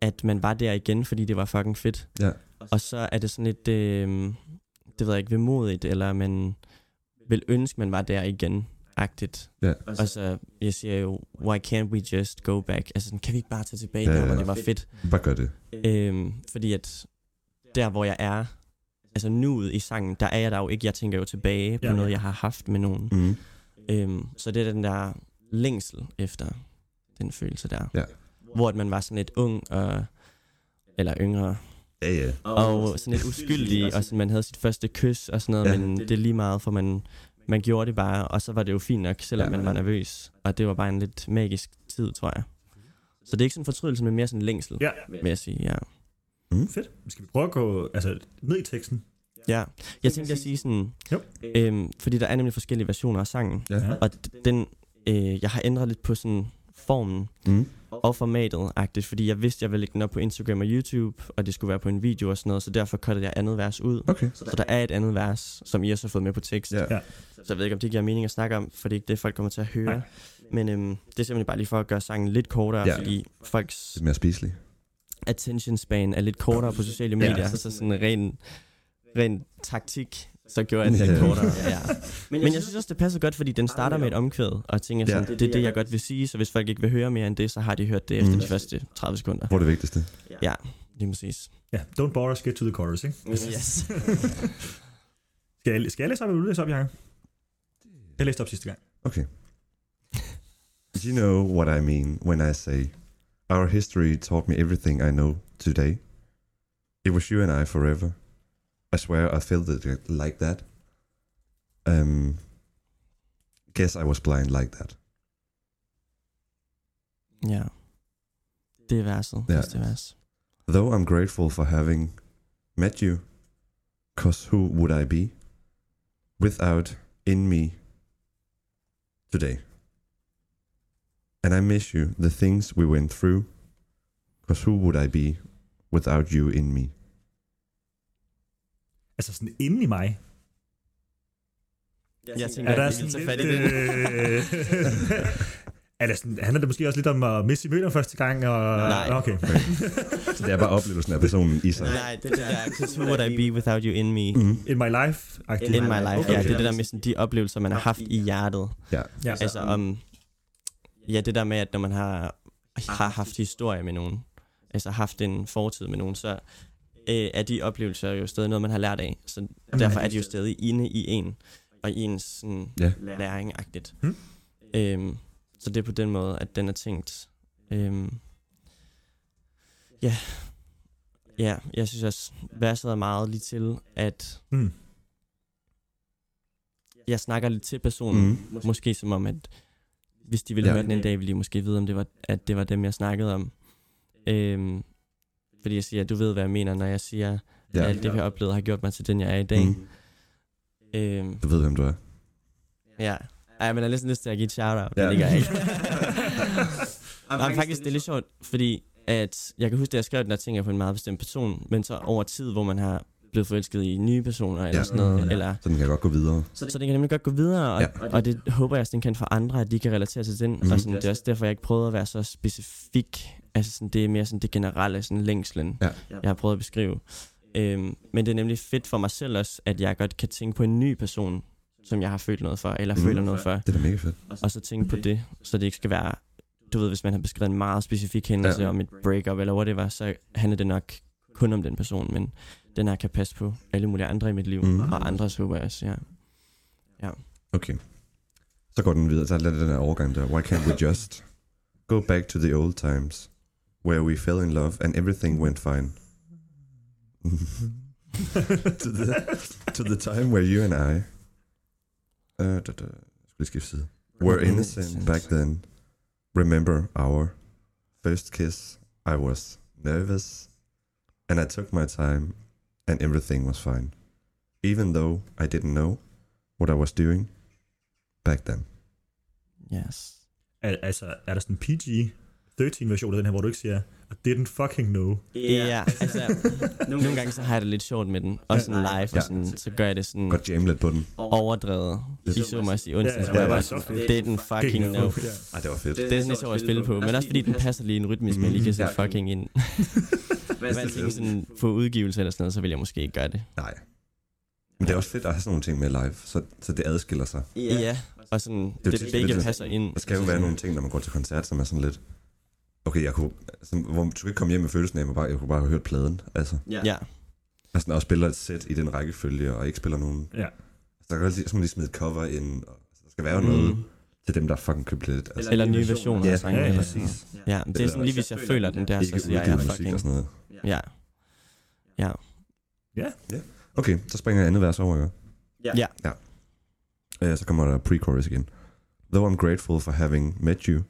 at man var der igen, fordi det var fucking fedt. Ja. Og så er det sådan lidt, øh, det ved jeg ikke, vemodigt, eller man vil ønske, man var der igen, agtigt. Ja. Og så, jeg siger jo, why can't we just go back? Altså, sådan, kan vi ikke bare tage tilbage Ja, der, ja, hvor ja. det var fedt? Bare gør det. Øhm, fordi at der, hvor jeg er, altså nuet i sangen, der er jeg der jo ikke. Jeg tænker jo tilbage på Ja. noget, jeg har haft med nogen. Mm. Øhm, så det er den der længsel efter den følelse der. Ja. Hvor at man var sådan lidt ung og eller yngre, Ja, ja. og, og sådan lidt uskyldig, og sådan, man havde sit første kys og sådan noget, Ja. ja, men det, det er lige meget, for man, man gjorde det bare, og så var det jo fint nok, selvom Ja, ja, man var ja. nervøs, og det var bare en lidt magisk tid, tror jeg. Så det er ikke sådan en fortrydelse, men mere sådan en længsel, Ja, vil jeg sige, ja. fedt. Skal vi prøve at gå altså, ned i teksten? Ja, jeg tænkte at sige sådan, Jo. øhm, fordi der er nemlig forskellige versioner af sangen, Ja. Ja. og d- den, øh, jeg har ændret lidt på sådan formen Mm. og formatet-agtigt, fordi jeg vidste, jeg ville lægge den op på Instagram og YouTube, og det skulle være på en video og sådan noget, så derfor cuttede jeg andet vers ud. Okay. Så der er et andet vers, som I også har fået med på tekst. Ja. Ja. Så jeg ved ikke, om det giver mening at snakke om, for det er ikke det, folk kommer til at høre. Nej. Men øhm, det er simpelthen bare lige for at gøre sangen lidt kortere, Ja. ja. fordi folks Lidt er mere spiselig. attention span er lidt kortere på sociale Ja. medier, ja. så sådan ren, ren taktik, så gjorde jeg den Ja. lidt kortere. Ja. Men jeg synes også, det passer godt, fordi den starter med et omkvæd, og tænker Ja. sådan, det er det, jeg godt vil sige, så hvis folk ikke vil høre mere end det, så har de hørt det efter Mm. de første 30 sekunder. Hvor er det vigtigste? Lige præcis. Ja, don't bore us, get to the chorus, ikke? Yes. Skal jeg, skal jeg læse op, eller vil du læse op, Jacob? Jeg læste op sidste gang. Okay. you know what I mean when I say, our history taught me everything I know today. It was you and I forever. I swear I felt it like that. Um, guess I was blind like that. ja. Det er verset. Ja. Ja. Det er vers. Though I'm grateful for having met you, cause who would I be without in me today? And I miss you, the things we went through, cause who would I be without you in me? Altså sådan inde i mig. Jeg tænker, Er der at vi sådan vil tage lidt... fat i det. Øh... er der sådan, handler det måske også lidt om at miste møder første gang? Og... Nej. Okay. Så det er bare oplevelsen af personen i sig. Nej, det er det der, cause who would I be without you in me? Altså. Mm. In my life? -agtigt. In my life. Okay. Ja, det er det der med sådan, de oplevelser, man har haft i hjertet. Ja. Ja. Altså om... Ja, det der med, at når man har, har haft historie med nogen, altså haft en fortid med nogen, så øh, er de oplevelser jo stadig noget, man har lært af. Så er derfor de er de jo stadig inde i en, og i ens sådan, Ja. læring-agtigt. Hmm. Øhm, så det er på den måde, at den er tænkt. Øhm, ja. ja, jeg synes også, verset er meget lige til, at Mm. jeg snakker lidt til personen, Mm. mm. måske som om, at hvis de ville Ja. ja. høre den en dag, ville de måske vide, om det var, at det var dem, jeg snakkede om. Øhm, fordi jeg siger, du ved, hvad jeg mener, når jeg siger, ja. Ja. at alt det, jeg har oplevet, har gjort mig til den, jeg er i dag. Mm. Mm. Øhm, Du ved, hvem du er. ja. Ej, men jeg har næsten lyst til at give et shout-out, ja. Ja. men det gør jeg ikke. Nej, faktisk, det er lidt sjovt, fordi at jeg kan huske, da jeg skrev den, der tænker jeg på en meget bestemt person, men så over tid, hvor man har blevet forelsket i nye personer, eller Ja. ja. sådan noget, Mm. eller Så den kan godt gå videre. Så, så den kan nemlig godt gå videre, og, Ja. ja. og det håber jeg sådan kan for andre, at de kan relatere til den. Mm. Mhm. Og sådan, det er også derfor, jeg ikke prøvede at være så specifik. Altså sådan, det er mere sådan det generelle, sådan længslen, Ja. jeg har prøvet at beskrive. Øhm, men det er nemlig fedt for mig selv også, at jeg godt kan tænke på en ny person, som jeg har følt noget for, eller Mhm. føler noget for, Det er da mega fedt. og så tænke på det, så det ikke skal være, du ved, hvis man har beskrevet en meget specifik hændelse Ja. ja. om et breakup eller whatever, så handler det nok kun om den person, men den her kan passe på alle mulige andre i mit liv, Mhm. mm. og andres håber jeg også, ja. Okay. Så går den videre. Så er der den her overgang der. Why can't we just go back to the old times, where we fell in love and everything went fine? to, the, to the time where you and I uh, da, da, jeg skulle lige skifte side. were innocent back then. Remember our first kiss? I was nervous and I took my time and everything was fine. Even though I didn't know what I was doing back then. Yes. Al- altså, er der sådan en PG-13-version af den her, hvor du ikke siger, I didn't fucking know. Ja, yeah, altså, nogle gange så har jeg det lidt sjovt med den. Også sådan live, og sådan, så gør jeg det sådan Godt jamme lidt på den. overdrevet. I så mig også i Ja, onsdag, ja, hvor jeg ja, var ja. sådan, det er den Fucking fucking no. Ja. Ej, det var fedt. Det er sådan lidt sjovt at spille på, men også fordi den passer lige en rytmisk, men lige kan sætte Mm-hmm. fucking ind. Hvis jeg tænker sådan på udgivelse eller sådan noget, så vil jeg måske ikke gøre det. Nej. Men det er også fedt at have sådan nogle ting med live, så, så det adskiller sig. Ja, yeah. og sådan, jo det, tit begge lidt- passer ind. Der skal jo være nogle ting, når man går til koncert, som er sådan lidt... Okay, jeg kunne, altså, hvor du kan ikke komme hjem med følelsen af, at man bare, jeg kunne bare have hørt pladen. Altså, Ja, altså når jeg spiller et sæt i den rækkefølge, og ikke spiller nogen... Ja. Så der kan godt lige, så må man lige smide et cover ind, og så skal være jo noget Mm. til dem, der fucking købte lidt. Altså, eller nye versioner ja, af sangen. ja, eller sådan præcis. noget. Ja, men det er sådan lige, hvis jeg føler den der, Ikke så siger jeg, udgivet jeg musik og fucking... sådan noget. Ja, Okay, så springer jeg andet vers over, ikke? Ja. ja. Øh, så kommer der pre-chorus igen. Though I'm grateful for having met you,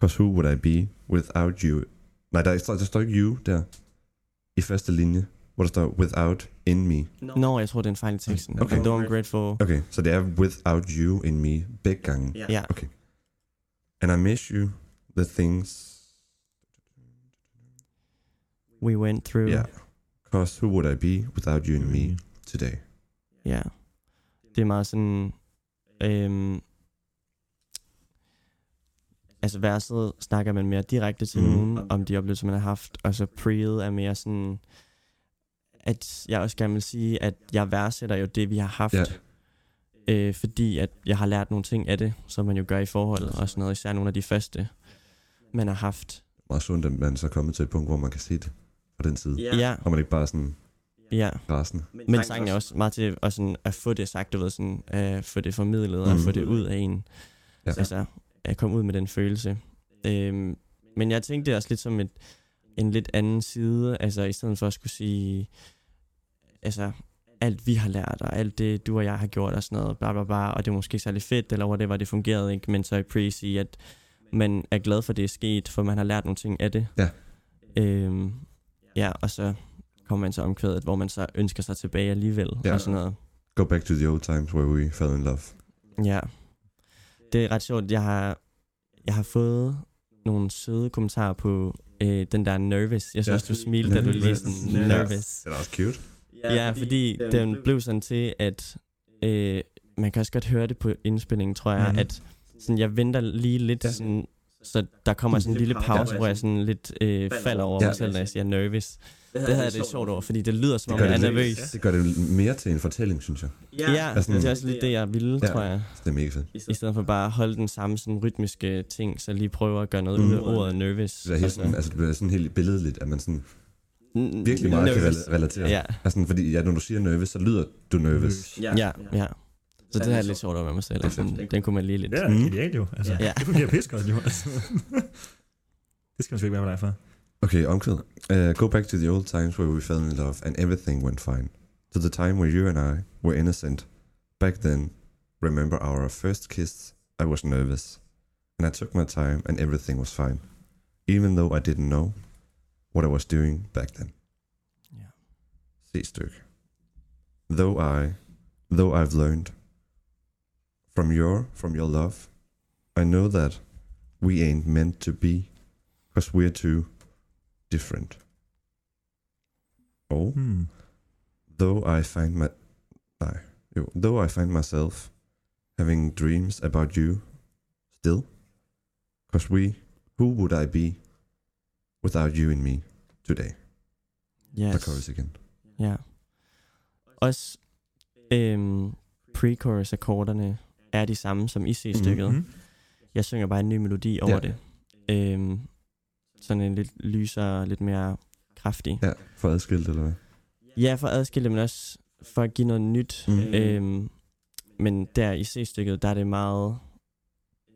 cause who would I be without you? Nej, der, står- der står ikke you der i første linje, hvor der står without in me. Nå, jeg tror, det er en fejl i teksten. Okay. Okay. Though I'm grateful. Okay, så det er without you in me begge gange. Ja. And I miss you, the things, We went through. yeah. Cause who would I be without you in me today? Ja. Det er meget sådan... Øhm, altså verset snakker man mere direkte til Mhm. mm. nogen, om de oplevelser, man har haft, og så preet er mere sådan, at jeg også gerne vil sige, at jeg værdsætter jo det, vi har haft, Ja. øh, fordi at jeg har lært nogle ting af det, som man jo gør i forholdet, og sådan noget, især nogle af de første, man har haft. Meget sundt, at man så er kommet til et punkt, hvor man kan se det på den side. Ja, ja. Og man ikke bare er sådan ja. rasende. Men sangen er også meget til at, sådan, at få det sagt, du ved, sådan, at få det formidlet og Mhm. få det ud af en. Ja. Ja. Altså, at komme ud med den følelse. Øhm, men jeg tænkte det også lidt som et, en lidt anden side, altså i stedet for at skulle sige, altså alt vi har lært, og alt det du og jeg har gjort og sådan noget, bla bla bla, og det er måske ikke særlig fedt, eller whatever, det fungerede ikke, men så i pre sige, at man er glad for, at det er sket, for man har lært nogle ting af det. Ja. Øhm, ja, og så kommer man så omkvædet, hvor man så ønsker sig tilbage alligevel, Ja. ja. og sådan noget. Go back to the old times where we fell in love. Ja. Det er ret sjovt. Jeg har, jeg har fået nogle søde kommentarer på øh, den der nervous. Jeg synes Ja. også, du smilte, da du lige Ja. sådan nervous. Det er da også cute. Ja, fordi den blev sådan til, at øh, man kan også godt høre det på indspillingen, tror jeg, Mhm. at sådan, jeg venter lige lidt, Ja. sådan, så der kommer sådan en lille pause, hvor jeg sådan lidt øh, falder over Ja. mig selv, når jeg siger nervous. Det havde jeg det sjovt over, fordi det lyder som om, gør jeg er det lidt. nervøs. Det gør det mere til en fortælling, synes jeg. Ja, Altså, det er også lidt det, jeg ville, Ja. tror jeg. Så det er mega fedt. I stedet for bare at holde den samme sådan, rytmiske ting, så lige prøve at gøre noget ud af Mm. ordet nervous. Det, er helt og sådan sådan, altså, det bliver sådan helt billedligt, at man sådan... virkelig meget kan nervous. rela- relatere. Ja, Altså, sådan, fordi ja, når du siger nervous, så lyder du nervous. ja, ja. Så det her er lidt sjovt at være med selv. Det er Den, fedt. den kunne man lige lidt. Det er Mm. mm. genialt jo. Altså, Ja. ja. Det fungerer pisse godt jo. Altså. det skal man sgu ikke være med dig for. Mm. Okay, omkvæd. Uh, go back to the old times where we fell in love and everything went fine. To the time where you and I were innocent. Back then, remember our first kiss, I was nervous. And I took my time and everything was fine. Even though I didn't know what I was doing back then. Ja. C-stykke. Though I, though I've learned from your, from your love, I know that we ain't meant to be, cause we're too different. Oh, Hmm. though I find my, nej, jo, though I find myself having dreams about you, still, cause we, who would I be without you and me today? Der Yes. chorus igen. Ja. Også øhm, pre-chorus akkorderne er de samme som i C-stykket. Mm-hmm. Mm. Jeg synger bare en ny melodi over Mhm. Ja. ja. det. Øhm, sådan en lidt lysere, lidt mere kraftig. Ja, for adskilt, eller hvad? Ja, for at adskille, men også for at give noget nyt. Mm. Mm. Øhm, men der i C-stykket, der er det meget...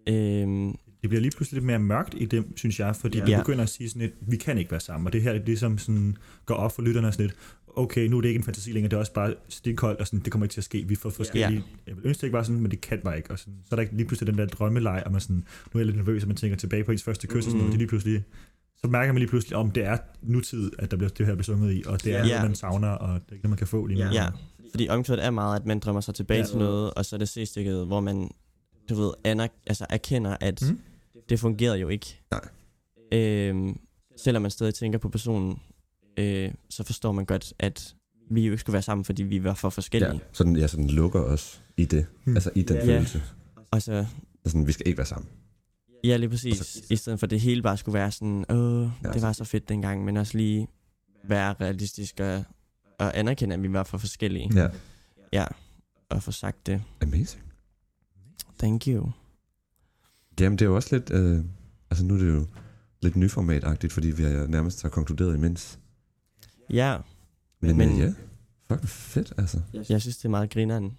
Øhm, Det bliver lige pludselig lidt mere mørkt i det, synes jeg, fordi Ja. ja. vi begynder at sige sådan lidt, vi kan ikke være sammen, og det her det ligesom sådan, går op for lytterne og sådan lidt, okay, nu er det ikke en fantasi længere, det er også bare stilkoldt, og sådan, det kommer ikke til at ske, vi får forskellige, ja. jeg vil ønske det ikke var sådan, men det kan bare ikke, og sådan, så er der ikke lige pludselig den der drømmeleg, og man sådan, nu er jeg lidt nervøs, og man tænker tilbage på ens første kys, mm. og sådan Mhm. noget, det er lige pludselig, så mærker man lige pludselig, om det er nutid, at der bliver det her besunget i, og det er Ja. ja. noget, man savner, og det er ikke noget, man kan få lige nu. ja, fordi omkvædet er meget, at man drømmer sig tilbage ja. Ja. til noget, og så er det C-stykket, hvor man, du ved, aner- altså erkender, at mm. Mm. det fungerede jo ikke. Nej. Øhm, selvom man stadig tænker på personen, øh, så forstår man godt, at vi jo ikke skulle være sammen, fordi vi var for forskellige. Ja. Ja, sådan, ja, sådan lukker os i det. Hmm. Altså i den Ja. følelse. Og så, Altså, sådan, vi skal ikke være sammen. ja lige præcis, altså i stedet for at det hele bare skulle være sådan, åh, Ja. det var så fedt dengang, men også lige være realistisk og, og anerkende, at vi var for forskellige, Ja. ja, og få sagt det. Amazing. Thank you. Jamen, det er jo også lidt... Øh, altså, nu er det jo lidt nyformatagtigt, fordi vi har nærmest har konkluderet imens. Ja, Men, Men- men ja, fuck hvor fedt, altså. jeg synes, det er meget grineren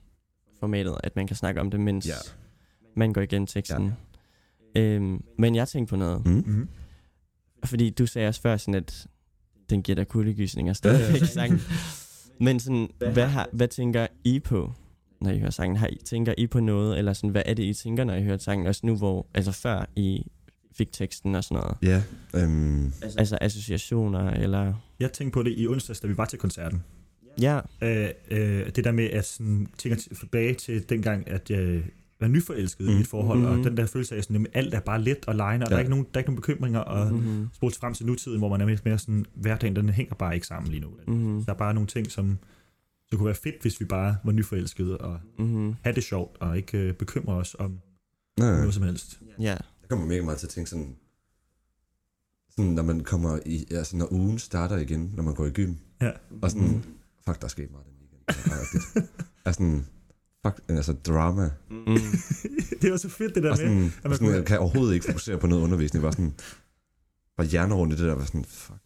formatet, at man kan snakke om det, mens Ja. ja. man går igennem teksten. Ja. Øhm, men jeg tænkte på noget. Mm. Mm. Fordi du sagde også før sådan, at den giver dig kuldegysninger stadigvæk i sangen. Men sådan, hvad, har, hvad tænker I på, når I hører sangen? Har I, tænker I på noget, eller sådan, hvad er det, I tænker, når I hører sangen? Også nu, hvor, altså før I fik teksten og sådan noget. Ja, øhm, Altså associationer, eller... Jeg tænkte på det i onsdags, da vi var til koncerten, Ja, øh, øh, det der med at sådan, tænker til- tilbage til dengang, at jeg var nyforelsket mm. Mm. i et forhold, mm. og Mhm. den der følelse af, sådan, at alt er bare let og lejende, og ja. der, Ja. er ikke nogen, der er ikke nogen bekymringer, og mm. mm-hmm. spole frem til nutiden, hvor man er lidt mere sådan, hverdagen den hænger bare ikke sammen lige nu. Mm-hmm. Der er bare nogle ting, som det kunne være fedt, hvis vi bare var nyforelskede og Mm-hmm. havde det sjovt, og ikke øh, bekymre os om nej, ja. nej. noget som helst. Ja, Jeg kommer mega meget til at tænke sådan... Sådan, når man kommer i... Altså, når ugen starter igen, når man går i gym. Ja. Og sådan, fuck, der er sket meget den weekend. Agtigt. altså, sådan, fuck, altså drama. mm. det er også fedt, det der Og med. sådan, man og sådan, kunne- jeg kan overhovedet ikke fokusere på noget undervisning. Bare sådan, var hjernerundt i det der, var sådan, fuck.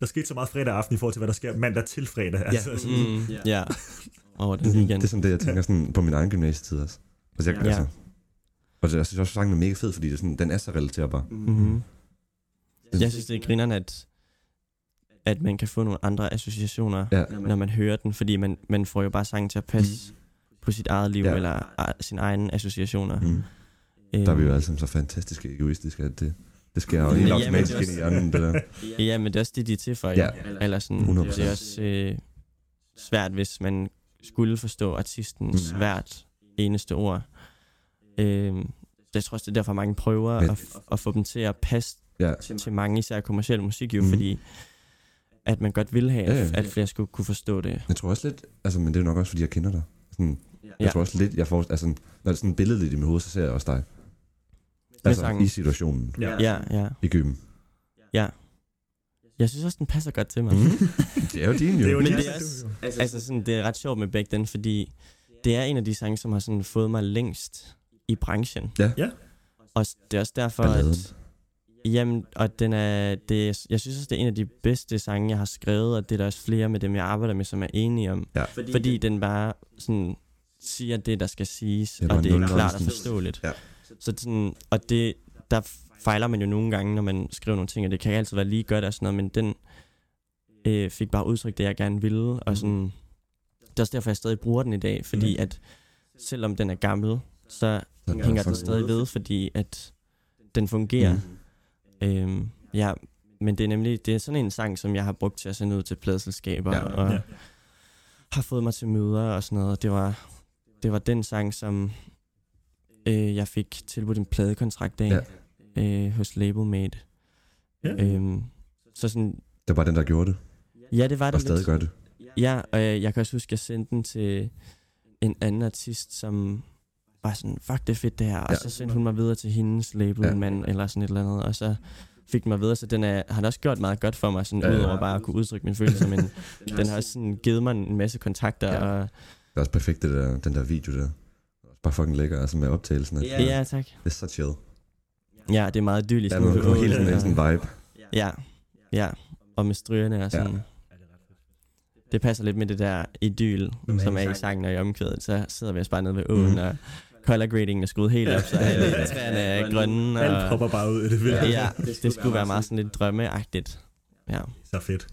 Der skete så meget fredag aften i forhold til, hvad der sker mandag til fredag. Ja. Altså, altså, Mm. ja. Over Det er, sådan, den det weekend. er sådan det, jeg tænker sådan, på min egen gymnasietid også. Altså, jeg, Ja. ja. altså, og det, jeg synes også, at sangen er mega fed, fordi det er sådan, den er så relaterbar. Mm-hmm. Jeg synes, det er grineren, at, at man kan få nogle andre associationer, Ja, når man hører den, fordi man, man får jo bare sangen til at passe mm. på sit eget liv, Ja. ja. eller a- sine egne associationer. mm. Øhm, der er vi jo alle sammen så fantastisk egoistiske, at det, det sker jo Men helt ja, automatisk men det ind er i hjernen, det der. Ja, men det er også det, de er til for. Ja. Ja. Eller sådan, 100%. det er også øh, svært, hvis man skulle forstå artistens Mm. mm. hvert eneste ord. Øhm, jeg tror også, det er derfor mange prøver Men- at, f- at få dem til at passe Ja, til mange, især kommersiel musik jo, Mhm. mm. fordi at man godt ville have, Ja, ja. at, at flere skulle kunne forstå det. jeg tror også lidt, altså, men det er jo nok også, fordi jeg kender dig. Sådan, jeg Ja. tror også lidt, jeg får, altså, når det er sådan billedet i mit hoved, så ser jeg også dig. Altså, sangen. i situationen, ja. Ja, ja. i gymmen. Jeg synes også, den passer godt til mig. Mm. Det er jo din, jo. Det er jo Men det, det er altså, Altså sådan, det er ret sjovt med Back Then, fordi det er en af de sange, som har sådan fået mig længst i branchen. Ja. Ja. Og s- det er også derfor, Balladen. at... Jamen, og den er, det, er- jeg synes også, det er en af de bedste sange, jeg har skrevet, og det er der også flere med dem, jeg arbejder med, som er enige om. Ja. Fordi, fordi den bare sådan, siger det, der skal siges, Det er det bare og det er nogenlunde klart og sådan- forståeligt. Ja. Så sådan, og det, der fejler man jo nogle gange, når man skriver nogle ting, og det kan ikke altid være lige godt og sådan noget, men den øh, fik bare udtrykt det, jeg gerne ville, Mhm. og sådan, det er også derfor, jeg stadig bruger den i dag, fordi at selvom den er gammel, så Den er hænger den fucking stadig ved, fordi at den fungerer. Mm. Øhm, ja, men det er nemlig det er sådan en sang, som jeg har brugt til at sende ud til pladselskaber, Ja. ja. og Ja. ja. har fået mig til møder og sådan noget. Det var, det var den sang, som øh, jeg fik tilbudt en pladekontrakt af ja. øh, hos Labelmate. Ja. Øhm, så sådan, Det var bare den, der gjorde det, ja, det var og det stadig gør det. Ja, og øh, jeg, jeg kan også huske, at jeg sendte den til en anden artist, som var sådan, fuck det er fedt det her. Og Ja. så sendte hun mig videre til hendes labelmand ja. eller sådan et eller andet, og så fik den mig videre. Så den er, har også gjort meget godt for mig, sådan, Ja, ja, ja. udover bare at kunne udtrykke mine følelser, men den har også sådan givet mig en masse kontakter. Ja. Ja, og, Det er også perfekt, det der, den der video der. Det er også bare fucking lækker, altså med optagelsen. af det ja. der. ja tak. Det er så chill. Ja, det er meget idyllisk. Der er med noget på bålet hele sådan en og- sådan vibe. Ja, ja. Og med strygerne og sådan. Ja. Det passer lidt med det der idyl, som er i sangen og i omkvædet. Så sidder vi også bare nede ved åen, Mhm. mm. og color grading er skruet helt op, så alle træerne er grønne. Alt Og, popper bare ud i det vildt. ja, det skulle være meget sådan lidt drømmeagtigt. Ja. Så fedt.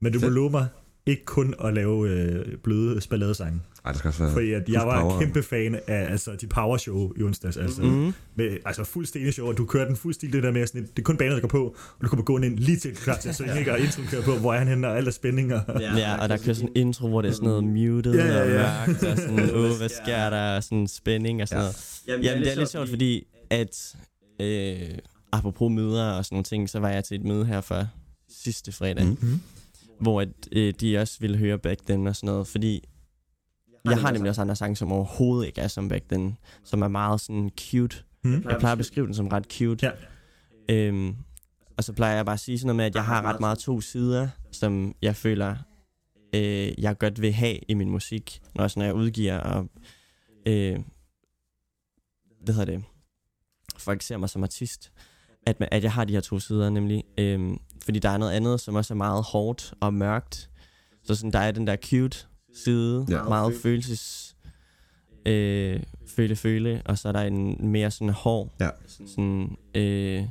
Men du må Fedt. love mig ikke kun at lave øh, bløde balladesange. Ej, der skal også være... Fordi at jeg var power. en kæmpe fan af altså, de power show i onsdags. Altså, mm. Mm. med, altså fuld steneshow, og du kører den fuld stil, det der med, sådan, et- det er kun baner, der går på, og du kommer gående ind lige til klar til at synge, ikke? og introen kører på, hvor er han henne, og alt er spænding. Og, Ja, Mm. og der kører sådan en intro, hvor det er sådan noget muted Ja, ja, og ja. mørkt, og sådan, åh, hvad sker der, og sådan spænding og sådan Ja. noget. Jamen, Jamen, det er lidt sjovt, fordi at øh, apropos møder og sådan nogle ting, så var jeg til et møde her for sidste fredag, Mhm. mm. hvor at, øh, de også ville høre Back Then og sådan noget, fordi jeg har nemlig også andre sange, som overhovedet ikke er som Back Then, som er meget sådan cute. Mm. Jeg plejer at beskrive den som ret cute. Ja. Øhm, og så plejer jeg bare at sige sådan noget med, at jeg har ret meget to sider, som jeg føler, øh, jeg godt vil have i min musik, når, også når jeg udgiver og øh, hvad hedder det, folk ser mig som artist, at, man, at jeg har de her to sider nemlig, øhm, fordi der er noget andet, som også er meget hårdt og mørkt, så sådan, der er den der cute side, Ja. ja. meget følelses, øh, føle, føle, og så er der en mere sådan hård, Ja. sådan, øh,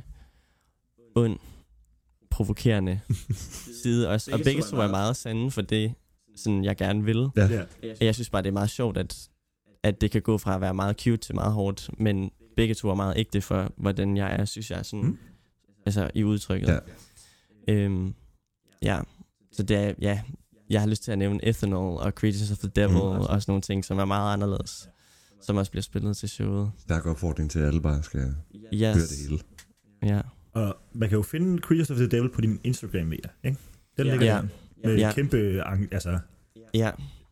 ond, provokerende side også, og begge to er meget sande for det, sådan, jeg gerne vil. Ja. Ja. Jeg synes bare, det er meget sjovt, at, at det kan gå fra at være meget cute til meget hårdt, men begge to er meget ægte for, hvordan jeg er, synes jeg, er sådan, Mm. mm. altså i udtrykket. Ja. Øhm, ja, så det er, ja, jeg har lyst til at nævne Ethanol og Creatures of the Devil Mm. mm. og sådan nogle ting, som er meget anderledes, som også bliver spillet til showet. Stærk opfordring til, at alle bare skal høre det Yes. hele. Ja. Og man kan jo finde Creatures of the Devil på din Instagram mere, ikke? Den Ja. ligger Ja. der med Ja. kæmpe, ang- altså, Ja,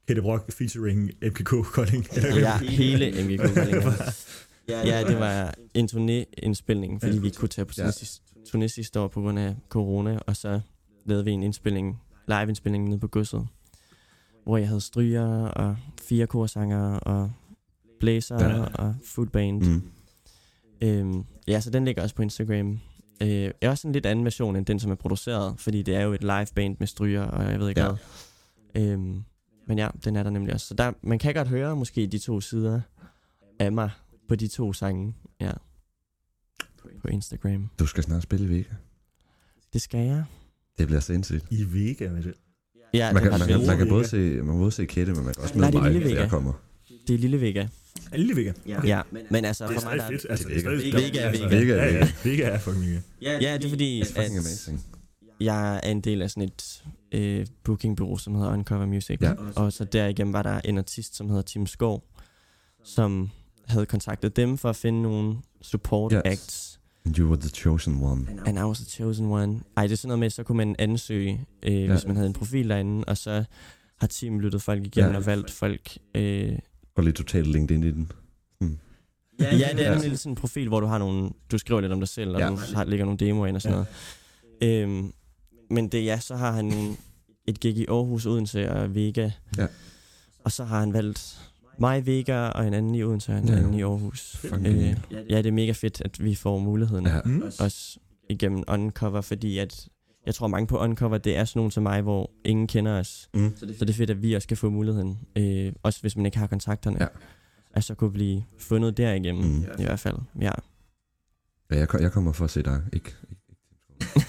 Kette Brock featuring MKK Kolding. ja hele MGK. Ja, det var en turnéindspilning, fordi Ja. vi ikke kunne tage på Ja. turné sidste, turné sidste år på grund af corona, og så lavede vi en indspilning, live-indspilning nede på godset, hvor jeg havde stryger og fire korsanger og blæser Ja. ja. og full band. Mm. Mm. Øhm, ja, så den ligger også på Instagram. Øh, jeg er også en lidt anden version end den, som er produceret, fordi det er jo et live band med stryger, og jeg ved ikke Ja. ja. hvad. Øhm, men ja, den er der nemlig også. Så der, man kan godt høre måske de to sider af mig på de to sange ja. på Instagram. Du skal snart spille i Vega. Det skal jeg. Det bliver sindssygt. I Vega med det. Ja, Man det, kan, er ret man, kan, vildt. man kan både se, man kan både se Kette, men man kan også møde Nej, det er mig, Lille hvis Vega. jeg kommer. det er Lille Vega. Er det Lille Vega? Ja, men altså Det er for stadig mig, der fedt. Altså, Det er Vega. stadig- Vega er altså, Vega. Vega er Ja, ja. Vega. Vega er fucking Vega. Ja, det er fordi, Det er fucking at amazing. jeg er en del af sådan et øh, bookingbureau, som hedder Uncover Music. Ja. Og så derigennem var der en artist, som hedder Tim Skov, som havde kontaktet dem for at finde nogle support Ja. yes. acts. And You were the chosen one. And I was the chosen one. Ej, det er sådan noget med, så kunne man ansøge, øh, ja. hvis man havde en profil derinde, og så har Tim lyttet folk igennem Ja. ja. og valgt folk. Øh, Og lige totalt linket ind i den. Ja, ja, det ja. er nemlig sådan en profil, hvor du har nogle, du skriver lidt om dig selv, og Ja. ja. du har, lægger nogle demoer ind og sådan ja. noget. Øhm, men det ja, så har han nogle- et gig i Aarhus, Odense og Vega. Ja. Og så har han valgt Mig, Vega og en anden i Odense og en Ja. anden i Aarhus. Fucking Øh, genial. Ja, det er mega fedt, at vi får muligheden. Ja. Mm. Også igennem Uncover, fordi at jeg tror, mange på Uncover, det er sådan nogen som mig, hvor ingen kender os. Mm. Så det er fedt, at vi også kan få muligheden. Øh, også hvis man ikke har kontakterne. Ja. At så kunne blive fundet derigennem, Mm. mm. i hvert fald. Ja. Ja, jeg, kom- jeg kommer for at se dig. Ikke, ikke.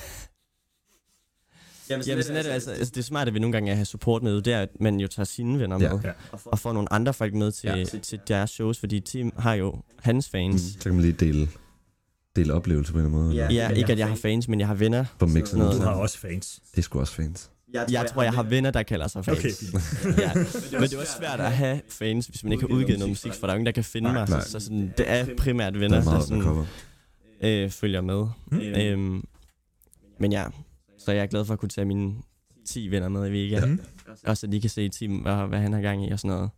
Jamen, Jamen sådan er det, altså, altså, det smarte ved nogle gange at have support med, det er, at man jo tager sine venner Ja. med, Ja. og får nogle andre folk med til, ja. til deres shows, fordi Tim har jo hans Mm. fans. Så kan man lige dele, dele oplevelser på en eller anden måde. Ja. eller- Ja, ikke at jeg har fans, men jeg har venner. På mixen. Sådan Du noget. har også fans. Det er sgu også fint. Jeg Jeg tror, jeg har venner, der kalder sig fans. Okay, ja. Men det er også svært at have fans, hvis man ikke har udgivet noget musik, for der er jo ingen, der kan finde mig. nej. Så, så sådan, det er primært Der venner, er der meget, der sådan, kommer. øh, følger med. Mm. Øhm, men ja, så jeg er glad for at kunne tage mine 10 venner med i weekenden. Mm. Ja. Også at de kan se Tim, hvad, hvad han har gang i og sådan noget.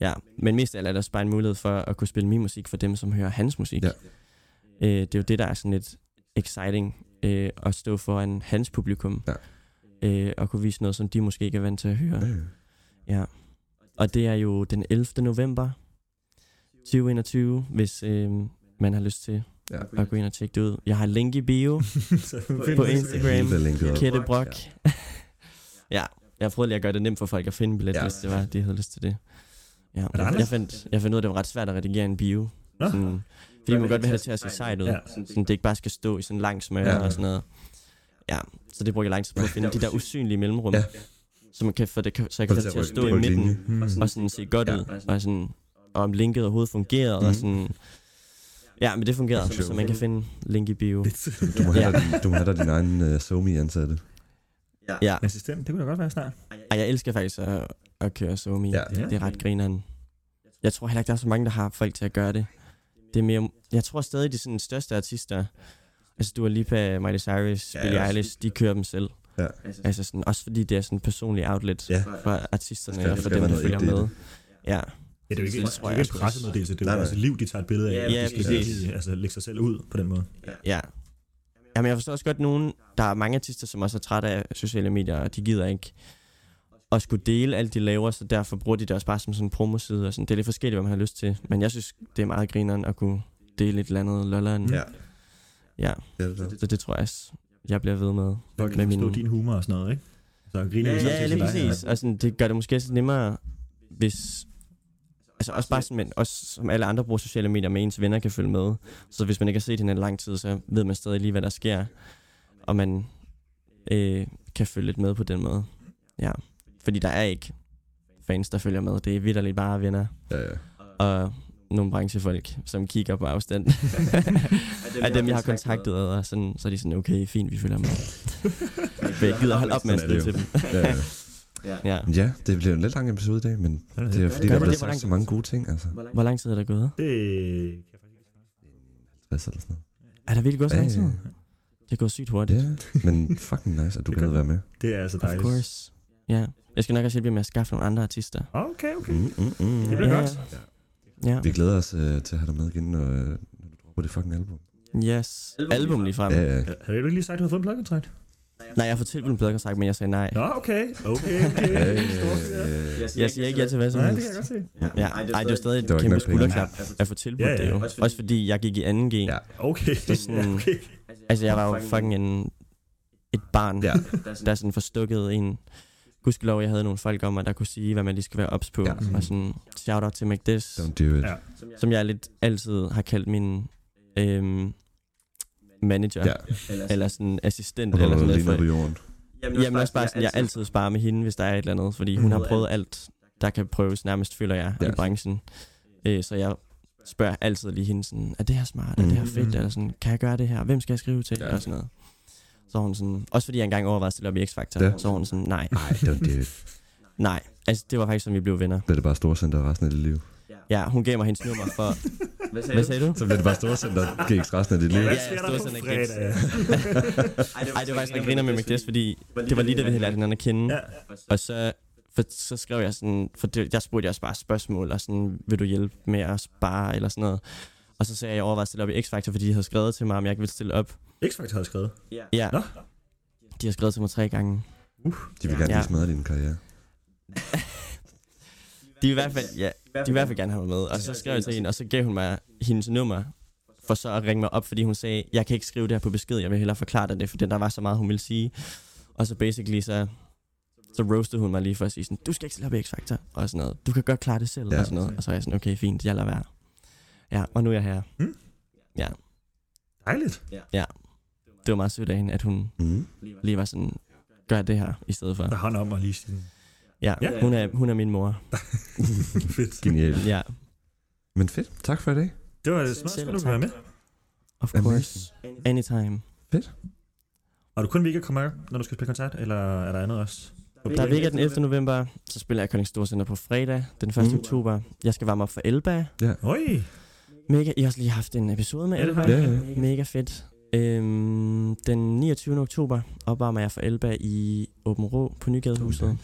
Ja, men mest af alt er der også bare en mulighed for at kunne spille min musik for dem, som hører hans musik. Ja. Øh, det er jo det, der er sådan lidt exciting, øh, at stå foran hans publikum. Ja. Øh, og kunne vise noget, som de måske ikke er vant til at høre. Ja, ja. Ja. Og det er jo den 11. november 2021, hvis øh, man har lyst til Ja. at gå ind og tjekke det ud. Jeg har link i bio Så på find- Instagram. Helt er linket op. Kette Brock. ja, jeg prøvede lige at gøre det nemt for folk at finde en billet, Ja. ja. hvis det var, de havde lyst til det. Ja. der andre? Jeg, fandt, jeg fandt ud af, at det var ret svært at redigere en bio. Nå. Sådan, fordi man godt vil have det til at se sejt ud. Ja. Ja. Sådan, det ikke bare skal stå i sådan en lang smør Ja. ja. og sådan noget. Ja, så det bruger jeg lang tid på at finde. De der usynlige mellemrum. Ja. Ja. Så, man kan få det, så jeg kan få det til at stå i På midten linje. Mm. og sådan se godt Ja. ja. ud, og sådan, og om linket overhovedet fungerede, mm. Mhm. og sådan, ja, men det fungerede, Sjovt. så man kan finde link i bio. Du må have Ja. dig, din- du må have dig din egen uh, somi ansatte. Ja, Assistent, det kunne da godt være snart. og jeg elsker faktisk at, at køre Zomi, Ja. ja. det er ret grineren. Jeg tror heller ikke, der er så mange, der har folk til at gøre det. Det er mere, jeg tror stadig, de sådan største artister, altså Dua Lipa, Miley Cyrus, Ja, Billie ja. Eilish, de kører dem selv. Ja. Altså sådan, også fordi det er sådan en personlig outlet Ja. for Der skal- artisterne og der for skal dem, være der noget følger ægte i med. Ja, Ja, det er jo ikke, Det det tror er jo jeg ikke en også. pressemeddelelse, det er Nej, jo nej. altså liv, de tager et billede af. Ja, og de ja, skal præcis. lige, altså, lægge sig selv ud på den måde. Ja. Jamen, jeg forstår også godt nogen, der er mange artister, som også er trætte af sociale medier, og de gider ikke at skulle dele alt, de laver, så derfor bruger de det også bare som sådan en promoside. Og sådan. Det er lidt forskelligt, hvad man har lyst til. Men jeg synes, det er meget grineren at kunne dele et eller andet lolleren. Ja. ja. Det er det der. Så det tror jeg også, jeg bliver ved med. Folk kan med forstå din humor og sådan noget, ikke? Så griner de Ja, samtidig lige med dig, præcis. Og sådan, det gør det måske også lidt nemmere, hvis... Altså også bare sådan, men også som alle andre bruger sociale medier, med ens venner kan følge med. Så hvis man ikke har set hinanden i lang tid, så ved man stadig lige, hvad der sker. Og man øh, kan følge lidt med på den måde. Ja. Fordi der er ikke fans, der følger med. Det er vidderligt bare venner Ja, ja. og nogle branchefolk, som kigger på afstand. dem, Af jeg dem, jeg har har kontaktet, og sådan, så er de sådan, okay, fint, vi følger med. Jeg gider holde op med at Sådan er skrive det til dem. Ja, ja. Ja. ja, det bliver en lidt lang episode i dag, men Sådan er det er jo fordi, Gør der bliver det, det var sagt langt. så mange gode ting. Altså. Hvor lang tid er der gået? Det kan jeg faktisk ikke svare. Hvad så er der sådan noget? Er der virkelig gået så Ja, lang tid? ja. Det går sygt Ja, hurtigt. men fucking nice, at du Det gad gør at være med. Det er altså Of dejligt. course. Ja. Jeg skal nok også hjælpe jer med at skaffe nogle andre artister. Okay, okay. Mm, mm, mm. Det bliver Ja. godt. Ja. Vi glæder os øh, til at have dig med igen, når, øh, når du dropper det fucking album. Yes. Album lige frem. Ja, ja. Ja, Havde du ikke lige sagt, at du havde fået en pladekontrakt? Nej, jeg har fået tilbudt en pladekontrakt, men jeg sagde nej. Nå, okay. Okay, okay. Ja, ja, Stort, ja, ja. Jeg siger ikke ja til hvad som Nej, det kan jeg helst. godt se. Ja. Ej, det var stadig Det var ikke et kæmpe nok penge. skulderklap at få tilbudt Ja, ja. det jo. Også fordi jeg gik i 2G. Ja. Okay. Så sådan- okay. Altså, jeg var jo fucking en, et barn, Ja. der sådan forstukkede en. Gudskelov, jeg havde nogle folk om mig, der kunne sige, hvad man lige skal være ops på. Ja. Og sådan, shout-out til McDiss. Don't do it. Ja. som jeg lidt altid har kaldt min øhm, manager, Ja. ja. eller sådan assistent, Og eller holder sådan du noget. lige ned altså For, på jorden. jamen også bare sådan, jeg altid sparer med hende, hvis der er et eller andet, fordi hun har prøvet alt, der kan prøves, nærmest føler jeg, Ja. i branchen. Øh, så jeg spørger altid lige hende sådan, er det her smart, er det her Mm. fedt, eller sådan, kan jeg gøre det her, hvem skal jeg skrive til, Ja. ja. og sådan noget. Så var hun sådan, også fordi jeg engang overvejede at stille op i X-Factor, Ja. så var hun sådan, nej, Nej, don't do it. nej. Altså, det var faktisk, som vi blev venner. Så bliver det bare storcenter resten af dit liv. Ja, hun gav mig hendes nummer for... Hvad sagde du? Så bliver det bare storcenter GX resten af dit liv. Hvad Ja, sker der stod på sådan en fredag? Ej, det var faktisk, jeg griner med McDess, fordi det var lige da vi havde lært hinanden at kende. Ja. Og så, for, så skrev jeg sådan, for det, jeg spurgte jeg også bare spørgsmål, og sådan, vil du hjælpe med at spare, eller sådan noget. Og så sagde jeg, at jeg overvejede at stille op i X-Factor, fordi de havde skrevet til mig, om jeg ikke ville stille op. X-Factor havde skrevet. Ja, Nå. de har skrevet til mig tre gange. De vil gerne Ja. lige smadre din karriere. De vil i hvert fald, ja, de vil i hvert fald gerne have mig med. Og så skrev jeg til hende, og så gav hun mig hendes nummer, for så at ringe mig op, fordi hun sagde, jeg kan ikke skrive det her på besked, jeg vil hellere forklare dig det, for der var så meget, hun ville sige. Og så basically så, så roastede hun mig lige for at sige sådan, du skal ikke stille op i X-Factor, og sådan noget. Du kan godt klare det selv, Ja. og sådan noget. Og så er jeg sådan, okay, fint, jeg lader være. Ja, og nu er jeg her. Dejligt. Det var meget sødt af hende, at hun Mm. lige var sådan, gør det her i stedet for. Der hånd om og lige sige, Ja, hun er, hun er min mor. fedt. Genialt. Ja, Men fedt. Tak for i dag. Det var det smart, Selv at du tak. kunne være med. of Amazing. course. Anytime. Og du kun weekend kommer, når du skal spille koncert, eller er der andet også? Der er Vega den 11. november, så spiller jeg Kolding Storcenter på fredag, den 1. Mm. Mm. oktober. Jeg skal varme op for Elba. Oj, Mega, I har også lige haft en episode med Ja, det Elba. har vi. Ja, Mega fedt. Øhm, den 29. oktober opvarmer jeg for Elba i Åben Rå på Nygadehuset.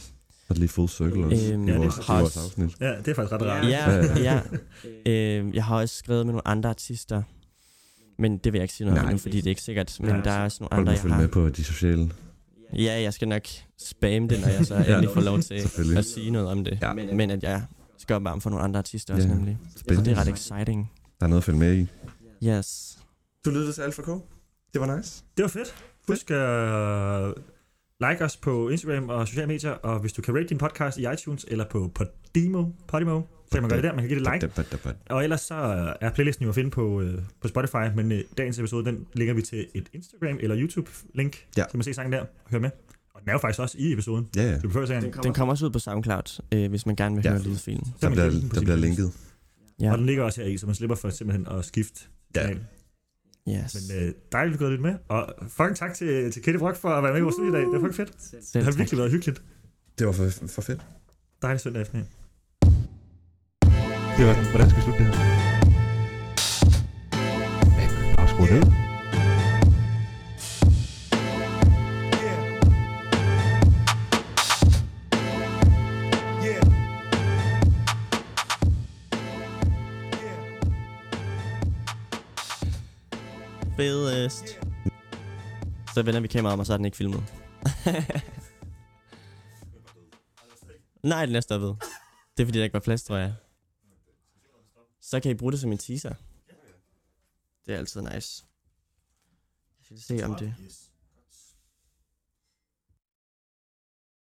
Og lige full circle også. Øhm, I ja, det vores, er i vores hot. afsnit. ja, det er faktisk ret rart. Ja, ja. Øhm, jeg har også skrevet med nogle andre artister, men det vil jeg ikke sige noget om Nej. nu, fordi det er ikke sikkert. Men Nej. der er også nogle Hold andre, nu jeg følge med har. på de sociale. Ja, jeg skal nok spamme det, når jeg så endelig får lov til Selvfølgelig. at sige noget om det. Ja. Men at jeg skal opvarme for nogle andre artister også Ja. nemlig. Så Spændende. det er ret exciting. Der er noget at følge med i. Yes. Du lyttede til Alfa K. Det var nice. Det var fedt. Husk at øh, like os på Instagram og sociale medier, og hvis du kan rate din podcast i iTunes eller på Podimo, Podimo, så kan man gøre det der. Man kan give det et like. Og ellers så øh, er playlisten jo at finde på, øh, på Spotify, men øh, dagens episode, den linker vi til et Instagram eller YouTube-link, Ja. ja. så man se sangen der og høre med. Og den er jo faktisk også i episoden. Ja, ja. Du behøver sikkert den, Den kommer også ud på SoundCloud, øh, hvis man gerne vil Ja. ja. høre lydfilen. så Der man bliver, kan hente den på der sin bliver playlist. linket. Ja. Og den ligger også her i, så man slipper for simpelthen at skifte. Ja. kanal. Yes. Men øh, dejligt, at du gået lidt med. Og fucking tak til, til Kette Brock for at være med i vores studie i dag. Det var fucking fedt. Selv Det har tak. virkelig været hyggeligt. Det var for, for fedt. Dejlig søndag eftermiddag. Det var den. Hvordan skal vi slutte det her? Bare skru ned. Yeah. Yeah. Yeah. Fedest. Så vender vi kameraet om, og så er den ikke filmet. Nej, den er stoppet. Det er fordi, der ikke var plads, tror jeg. Så kan I bruge det som en teaser. Det er altid nice. Jeg skal se om det...